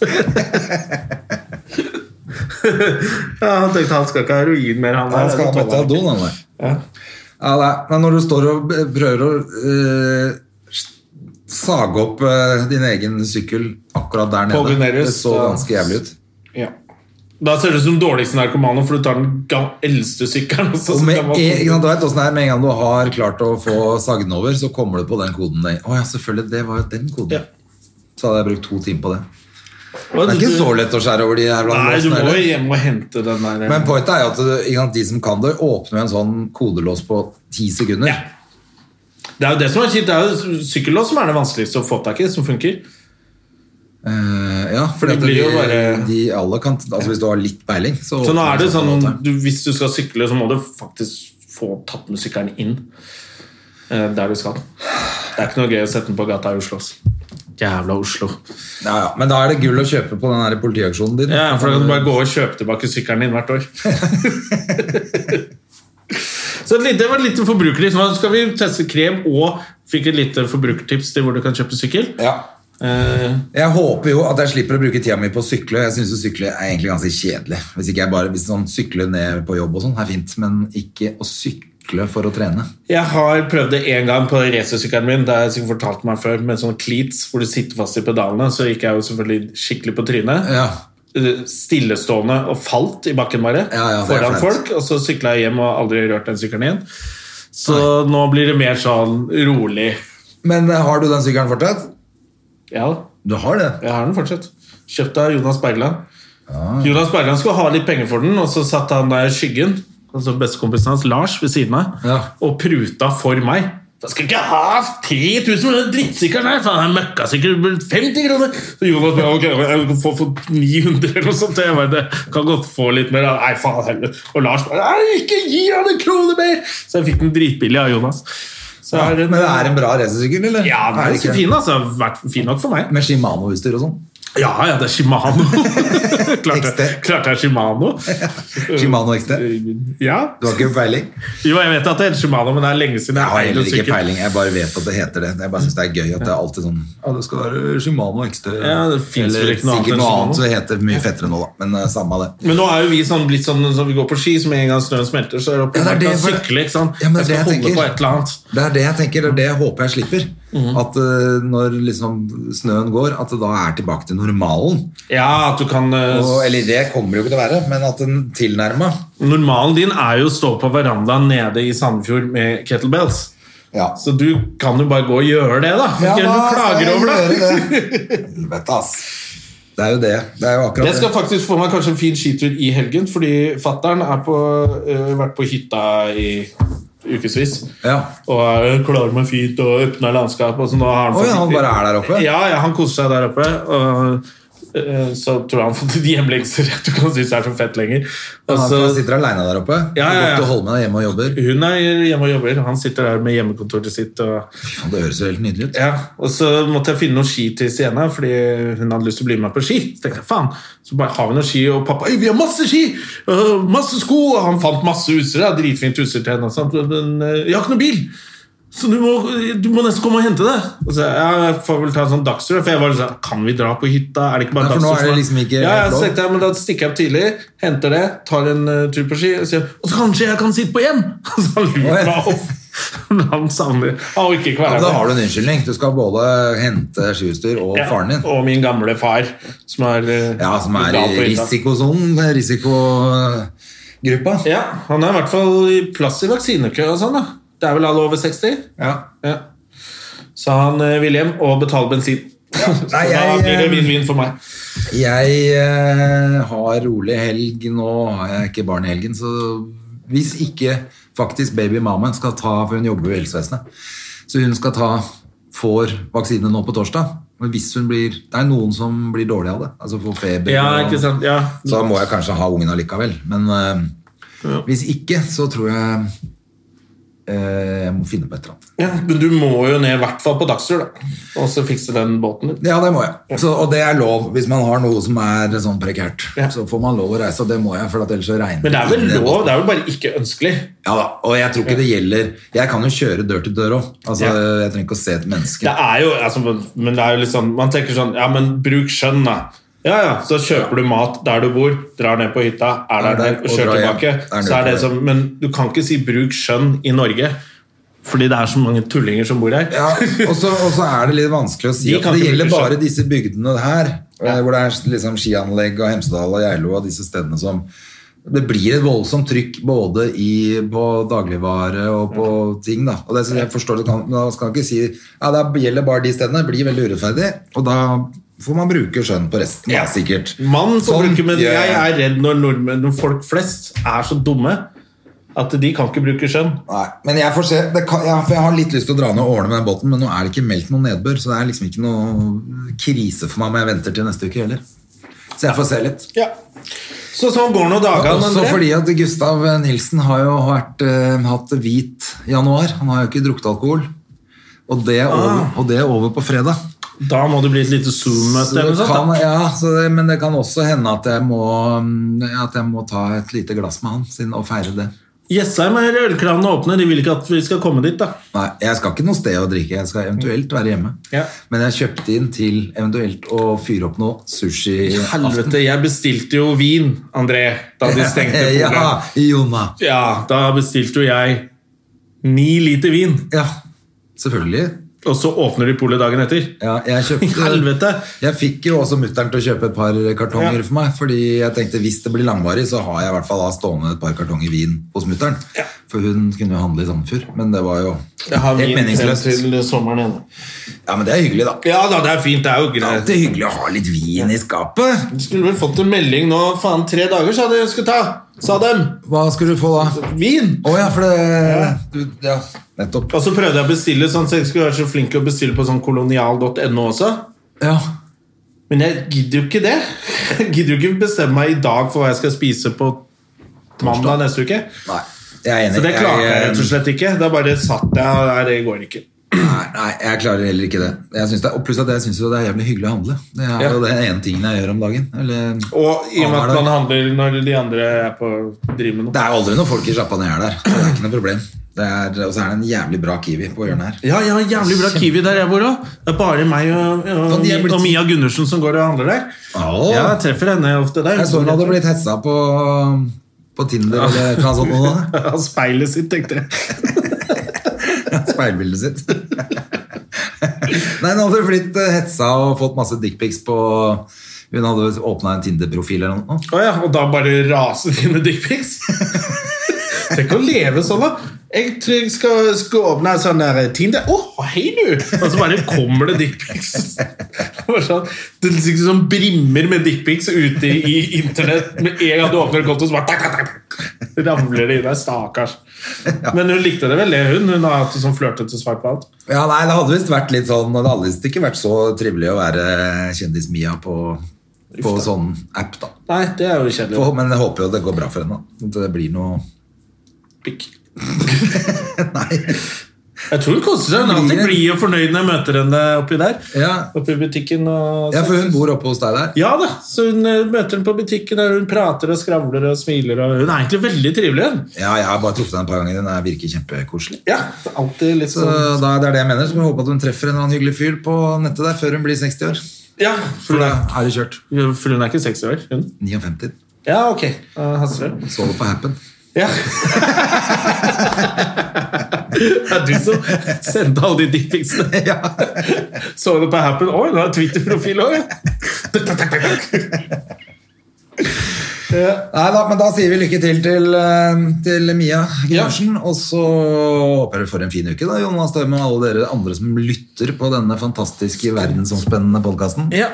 S2: ja, han tenkte han skal ikke ha heroin mer, han der.
S1: Han skal ha
S2: Tolv år.
S1: metadon, han der.
S2: Ja.
S1: Ja, nei, men når du står og b- prøver å eh, s- sage opp eh, din egen sykkel akkurat der
S2: På
S1: nede
S2: Gunerius,
S1: Det så
S2: da-
S1: ganske jævlig ut.
S2: Ja. Da ser du ut som dårligste narkomanen, for du tar den ga- eldste sykkelen. og så
S1: Og med, e-
S2: skal man-
S1: en, ikke sant, du vet hvordan det er, med en gang du har klart å få sagd den over, så kommer du på den koden. der. Å ja, selvfølgelig, det var jo den koden.
S2: Ja.
S1: Så hadde jeg brukt to timer på det.
S2: Hva,
S1: Det er ikke
S2: du-
S1: så lett å skjære over de her
S2: Nei, du
S1: låsene,
S2: må
S1: eller?
S2: jo hjem og hente den der. eh,
S1: Men pointet er jo at du- ikke sant, de som kan det, åpner jo en sånn kodelås på ti sekunder.
S2: Ja. Det er jo det som er kjipt. Det er jo sykkellås som er det vanskeligste å få tak i, som funker.
S1: Eh, ja for
S2: det blir jo
S1: de,
S2: bare-
S1: de alle kan Altså Hvis du har litt peiling, så
S2: Så nå er det
S1: åpner
S2: sånn
S1: en
S2: du, Hvis du skal sykle, så må du faktisk få tatt med sykkelen inn eh, der du skal. Det er ikke noe gøy å sette den på gata i Oslo. ass. Jævla Oslo.
S1: Ja, ja. Men da er det gull å kjøpe på den her politiaksjonen din.
S2: Ja, for da kan du bare gå og kjøpe tilbake sykkelen din hvert år. så et lite- det var et lite forbrukertips. Nå skal vi teste krem og fikk et lite forbrukertips til hvor du kan kjøpe sykkel.
S1: Ja.
S2: Eh,
S1: Jeg håper jo at jeg slipper å bruke tida mi på å sykle. Jeg syns sykle er egentlig ganske kjedelig. Hvis ikke jeg bare hvis sånn, sykle ned på jobb og sånn er fint, men ikke å sykle for å trene.
S2: Jeg har prøvd det én gang på racersykkelen min. Det har jeg sikkert fortalt meg før Med sånne cleats hvor du sitter fast i pedalene. Så gikk jeg jo selvfølgelig skikkelig på trynet.
S1: Ja.
S2: Eh, Stillestående og falt i bakken bare
S1: Ja, ja, det er
S2: foran
S1: flaut.
S2: folk. Og så sykla jeg hjem og aldri rørt den sykkelen igjen. Så nå blir det mer sånn rolig.
S1: Men eh, har du den sykkelen fortsatt?
S2: Ja,
S1: Du har det?
S2: jeg har den fortsatt. Kjøpt av Jonas Bergland. Jonas Bergland skulle ha litt penger for den, og så satt han der i skyggen. Altså Bestekompisen hans, Lars, ved siden av,
S1: Ja.
S2: og pruta for meg. Da skal ikke ha 3000 for den drittsykkelen her! Faen, den møkkasykkel blir 50 kroner! Så Jonas bare ok, jeg kan få for 900 eller noe sånt. Jeg bare, det kan godt få litt mer. da.» Nei, faen heller. Og Lars bare Nei, ikke gi han en krone mer! Så jeg fikk den dritbillig av Jonas. Så er den-
S1: Men det er en bra racersykkel, eller?
S2: ja, den
S1: Er
S2: er
S1: det
S2: ganske
S1: ikke?
S2: fin, altså. Vært fin nok for meg.
S1: Med Shimano-utstyr og sånn?
S2: Ja, ja, det er Shimano. klart, det,
S1: XT.
S2: klart det er Shimano. Øh.
S1: Shimano XT?
S2: Ja.
S1: Du har ikke peiling?
S2: Jo, jeg vet at det er Shimano, men det er lenge
S1: Jeg
S2: siden jeg
S1: har
S2: eide
S1: heller ikke
S2: sykkel.
S1: peiling, jeg bare vet at det heter det. Jeg bare synes det er gøy at det er alltid sånn Ja, det skal være Shimano XT.
S2: Ja, det finnes
S1: Eller
S2: vel ikke noe annet
S1: sikkert
S2: enn
S1: noe
S2: Shimano.
S1: annet som heter mye fettere nå, da. Men eh, samme av det.
S2: Men nå er jo vi sånn, blitt sånn som vi går på ski, så med en gang snøen smelter, så er det opp
S1: Ja, det er det,
S2: og
S1: for-
S2: sykle. ikke sant?
S1: Ja, men det
S2: jeg
S1: er
S2: skal
S1: det jeg
S2: holde på
S1: tenker.
S2: et eller annet.
S1: Det er det jeg tenker, det er det jeg håper jeg slipper.
S2: Mhm.
S1: At eh, når liksom snøen går, at det da er tilbake til normalen.
S2: Ja, at du kan eh,
S1: Og, eller det kommer det jo ikke til å være, men at den tilnærma
S2: Normalen din er jo å stå på verandaen nede i Sandefjord med kettlebells.
S1: Ja.
S2: Så du kan jo bare gå og gjøre det, da.
S1: Ja,
S2: Ikke
S1: da
S2: du
S1: skal
S2: klager
S1: jeg
S2: over det.
S1: gjøre det. Helvete, ass. Det er jo det. Det er jo akkurat
S2: Jeg skal faktisk få meg kanskje en fin skitur i helgen, fordi fattern har vært på hytta i ukevis.
S1: det. Ja.
S2: Og er klar med fint og åpna landskap. Og så nå har han,
S1: Å
S2: fått-
S1: ja, han bare er der oppe?
S2: Ja, ja, han koser seg der oppe. Og eh, så tror jeg han har fått litt hjemlengsel. Du kan synes det er så fett lenger. Og
S1: Han
S2: så-
S1: sitter aleine der oppe.
S2: Altså- Ja, ja, ja.
S1: Godt å holde med deg hjemme og jobber.
S2: hun er hjemme og jobber. Han sitter der med hjemmekontoret sitt. Og,
S1: Faen, Det høres jo helt nydelig ut.
S2: ja, og så måtte jeg finne noen ski til Sienna, fordi hun hadde lyst til å bli med meg på ski. Så tenkte jeg, faen, så bare har vi noen ski, og pappa «Øy, vi har masse ski! øh, masse sko! Og han fant masse utstyr, da, dritfint utstyr til henne. og sånt, Men øh, jeg har ikke noen bil! Så du må, du må nesten komme og hente det. Og så, ja, jeg får vel ta en sånn dagstur. For jeg var litt sånn, kan vi dra på hytta? Er det ikke bare
S1: Ja, for nå
S2: dagstur
S1: er det
S2: som
S1: liksom ikke
S2: ja, ja, så
S1: lov.
S2: tenkte jeg, men Da stikker jeg opp tidlig, eh, henter det, tar en øh, tur på ski og sier Og så kanskje jeg kan sitte på hjem! Og så han
S1: Å,
S2: lurer
S1: ja.
S2: meg opp. Men han savner Å, ikke
S1: Ja, men da har
S2: Kvernaland.
S1: du en unnskyldning. Du skal både hente Sjustur og
S2: Ja,
S1: faren din.
S2: og min gamle far, som er eh,
S1: Ja, som er
S2: gal på
S1: i
S2: hytta.
S1: risikosonen, risikogruppa.
S2: Ja, han er i hvert fall i plass i vaksinekø og sånn, da. Det er vel alle over 60?
S1: Ja.
S2: Ja. Så han eh, vil hjem og betale bensin. Så
S1: Nei,
S2: da
S1: jeg,
S2: blir det
S1: eh,
S2: vinn-vinn for meg.
S1: Jeg eh, har rolig helg nå. Har jeg ikke barn i helgen, så hvis ikke faktisk babymammaen skal ta For hun jobber i helsevesenet. Så hun skal ta får vaksine nå på torsdag. Men hvis hun blir Det er noen som blir dårlig av det. Altså får feber.
S2: Ja,
S1: og-
S2: ikke sant? Ja.
S1: Så da må jeg kanskje ha ungen allikevel. Men eh, hvis ikke, så tror jeg eh, jeg må finne på et eller annet.
S2: Ja, men du må jo ned i hvert fall på dagstur, da. Og så fikse den båten din.
S1: Ja, det må jeg. Så, og det er lov hvis man har noe som er sånn prekært.
S2: Ja.
S1: Så får man lov å reise, og det må jeg, for at ellers så regner
S2: Men det er vel
S1: inn i
S2: lov,
S1: båten.
S2: det er vel bare ikke ønskelig.
S1: Ja da, og jeg tror ikke det gjelder Jeg kan jo kjøre dør til dør òg. Altså,
S2: Ja.
S1: jeg trenger ikke å se et
S2: Det
S1: menneske.
S2: er jo, altså, men- men det er jo litt sånn Man tenker sånn, ja, men bruk skjønn, da. Ja, ja, Så kjøper du mat der du bor, drar ned på hytta, er der,
S1: Er der,
S2: ned, og
S1: og
S2: kjører
S1: drar hjem.
S2: tilbake.
S1: Er
S2: Så er
S1: nødt
S2: det
S1: til
S2: som, men du kan ikke si 'bruk skjønn' i Norge, fordi det er så mange tullinger som bor her.
S1: Ja, og så og så er det litt vanskelig å si
S2: De
S1: at
S2: kan
S1: det
S2: ikke
S1: gjelder
S2: bruke
S1: bare
S2: skjønn.
S1: disse bygdene her, eh, hvor det er liksom skianlegg og Hemsedal og Geilo og disse stedene som Det blir et voldsomt trykk både i, på dagligvare og på
S2: Mm.
S1: ting, da. Og det, så jeg forstår det kan, men da skal man ikke si ja, det gjelder bare de stedene. Det blir veldig urettferdig. Og da får man bruke skjønn på resten, da, sikkert.
S2: Man får
S1: Sånn
S2: bruke, men
S1: gjør
S2: jeg er redd når nordmenn, når folk flest, er så dumme at de kan ikke bruke skjønn.
S1: Nei, men jeg får se. Det kan, ja, for jeg har litt lyst til å dra ned og ordne med den båten, men nå er det ikke meldt noen nedbør, så det er liksom ikke noe krise for meg om jeg venter til neste uke heller. Så jeg får se litt.
S2: Ja. Så sånn går nå dagene,
S1: Også
S2: André.
S1: fordi at Gustav Nilsen har jo vært, eh, hatt hvit januar. Han har jo ikke drukket alkohol. Og det er over, og det er over på fredag.
S2: Da må det bli et lite Zoom-møte.
S1: Så
S2: eller
S1: det
S2: noe sånt,
S1: kan,
S2: da.
S1: ja, så det, men det kan også hende at jeg, må, mm, at jeg må ta et lite glass med han siden, og feire det.
S2: Jessheim er ølkranene åpne. De vil ikke at vi skal komme dit, da.
S1: Nei, jeg skal ikke noe sted å drikke. Jeg skal eventuelt være hjemme.
S2: Ja.
S1: Men jeg kjøpte inn til eventuelt å fyre opp noe sushi.
S2: Helvete, jeg bestilte jo vin, André, da de stengte polet.
S1: Ja, Jonna.
S2: ja, da bestilte jo jeg ni liter vin,
S1: Ja, selvfølgelig.
S2: og så åpner de polet dagen etter.
S1: Ja, jeg
S2: I
S1: kjøpte...
S2: helvete!
S1: Jeg fikk jo også mutteren til å kjøpe et par kartonger
S2: Ja.
S1: for meg, fordi jeg tenkte hvis det blir langvarig, så har jeg i hvert fall da stående et par kartonger vin hos mutteren. For hun kunne jo handle i Sandefjord, men det var jo
S2: Jeg har
S1: helt
S2: vin frem
S1: meningsløst.
S2: til sommeren ennå.
S1: Ja, men det er hyggelig da.
S2: Ja da, det er fint. Det er jo
S1: Det er
S2: greit.
S1: alltid hyggelig å ha litt vin i skapet.
S2: Du skulle vel fått en melding nå, faen, tre dager, sa de jeg skulle ta. Sa dem.
S1: Hva skulle du få da?
S2: Vin!
S1: Å ja, for det... Du, ja, nettopp.
S2: Og så prøvde jeg å bestille sånn, så jeg skulle være så flink til å bestille på sånn kolonial.no også.
S1: Ja.
S2: Men jeg gidder jo ikke det. Jeg gidder jo ikke bestemme meg i dag for hva jeg skal spise på mandag neste uke.
S1: Nei, jeg er enig.
S2: Så det klarte jeg
S1: eh,
S2: rett og slett ikke. Da bare satt jeg og nei, det går ikke.
S1: Nei, nei, jeg klarer heller ikke det. Jeg synes det og pluss at jeg syns det er jævlig hyggelig å handle. Det er
S2: Ja.
S1: jo den ene tingen jeg gjør om dagen. Eller,
S2: Og i og med
S1: Annenhver
S2: at
S1: dag.
S2: man handler når de andre er på driver med noe.
S1: Det er aldri noen folk i sjappa når jeg er der. så Det er ikke noe problem. Det er, og så er det en jævlig bra Kiwi på hjørnet her.
S2: Ja, ja, jævlig bra Kiwi der jeg bor òg. Det er bare meg og, og,
S1: Faen, de er blitt-
S2: og Mia Gundersen som går og handler der.
S1: Åh.
S2: Ja, jeg treffer henne ofte der.
S1: Jeg så hun hadde blitt hetsa på, på Tinder eller noe sånt. nå, da.
S2: Av speilet sitt, tenkte jeg.
S1: Speilbildet sitt. Nei, hun hadde blitt eh, hetsa og fått masse dickpics på Hun hadde åpna en Tinder-profil eller noe.
S2: Å ja, og da bare raser de med dickpics? Tenk å leve sånn, da. Jeg tror jeg skal, skal åpne en sånn der Tinder Å, hei, du! Og så bare kommer det dickpics. Bare sånn, det er liksom sånn brimmer med dickpics ute i internett. Med en gang du åpner en konto, så bare tak, tak, tak, ramler det inn der. Stakkars. Men hun likte det vel, det, hun. Hun har hatt sånn flørtete svar på alt.
S1: Ja, nei, Det hadde visst vært litt sånn Det hadde visst ikke vært så trivelig å være kjendis-Mia på, på sånn app, da.
S2: Nei, det er jo kjedelig.
S1: For, men jeg håper jo det går bra for henne. da. At det blir noe
S2: Pikk.
S1: Nei.
S2: Jeg tror hun koser seg. Hun er alltid blid og fornøyd når jeg møter henne oppi der.
S1: Ja.
S2: Oppi butikken og
S1: ja, for hun bor oppe hos deg der.
S2: Ja da, så hun eh, møter henne på butikken der hun prater og skravler og smiler. Og hun er egentlig veldig trivelig. Hun.
S1: Ja, jeg har bare truffet henne et par ganger. Hun er- virker kjempekoselig.
S2: Ja, alltid litt
S1: Så
S2: sånn
S1: da, det er det jeg mener. Så må vi håpe at hun treffer en eller annen hyggelig fyr på nettet der før hun blir 60 år.
S2: Ja,
S1: For
S2: for
S1: da
S2: hun er,
S1: er det kjørt.
S2: for hun er ikke 60 år, hun.
S1: 59.
S2: Ja, ok. Da haster det.
S1: Så det på Happen.
S2: Ja. det er du som sendte alle de dickpicsene. Så du på Happen? Oi, nå har jeg Twitter-profil òg,
S1: Nei da, men da sier vi lykke til til, eh, til Mia Gundersen. Og så håper jeg du får en fin uke, da, Jonas Støme, og alle dere andre som lytter på denne fantastiske verdensomspennende podkasten.
S2: ja.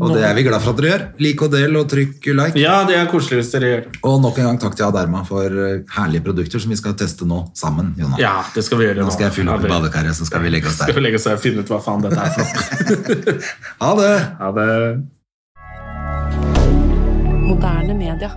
S1: Og det er vi glad for at dere gjør. Lik og del og trykk like.
S2: ja, det er koselig hvis dere gjør det.
S1: Og nok en gang takk til Aderma for eh, herlige produkter som vi skal teste nå sammen. Jonas.
S2: Ja, det skal vi gjøre
S1: Nå skal jeg fylle opp
S2: Ja,
S1: i
S2: det-
S1: badekaret, så skal vi legge oss
S2: Skal
S1: der.
S2: vi legge oss her og finne ut hva faen dette er for
S1: Ha
S2: noe.
S1: det!
S2: Ha det.
S3: Moderne media.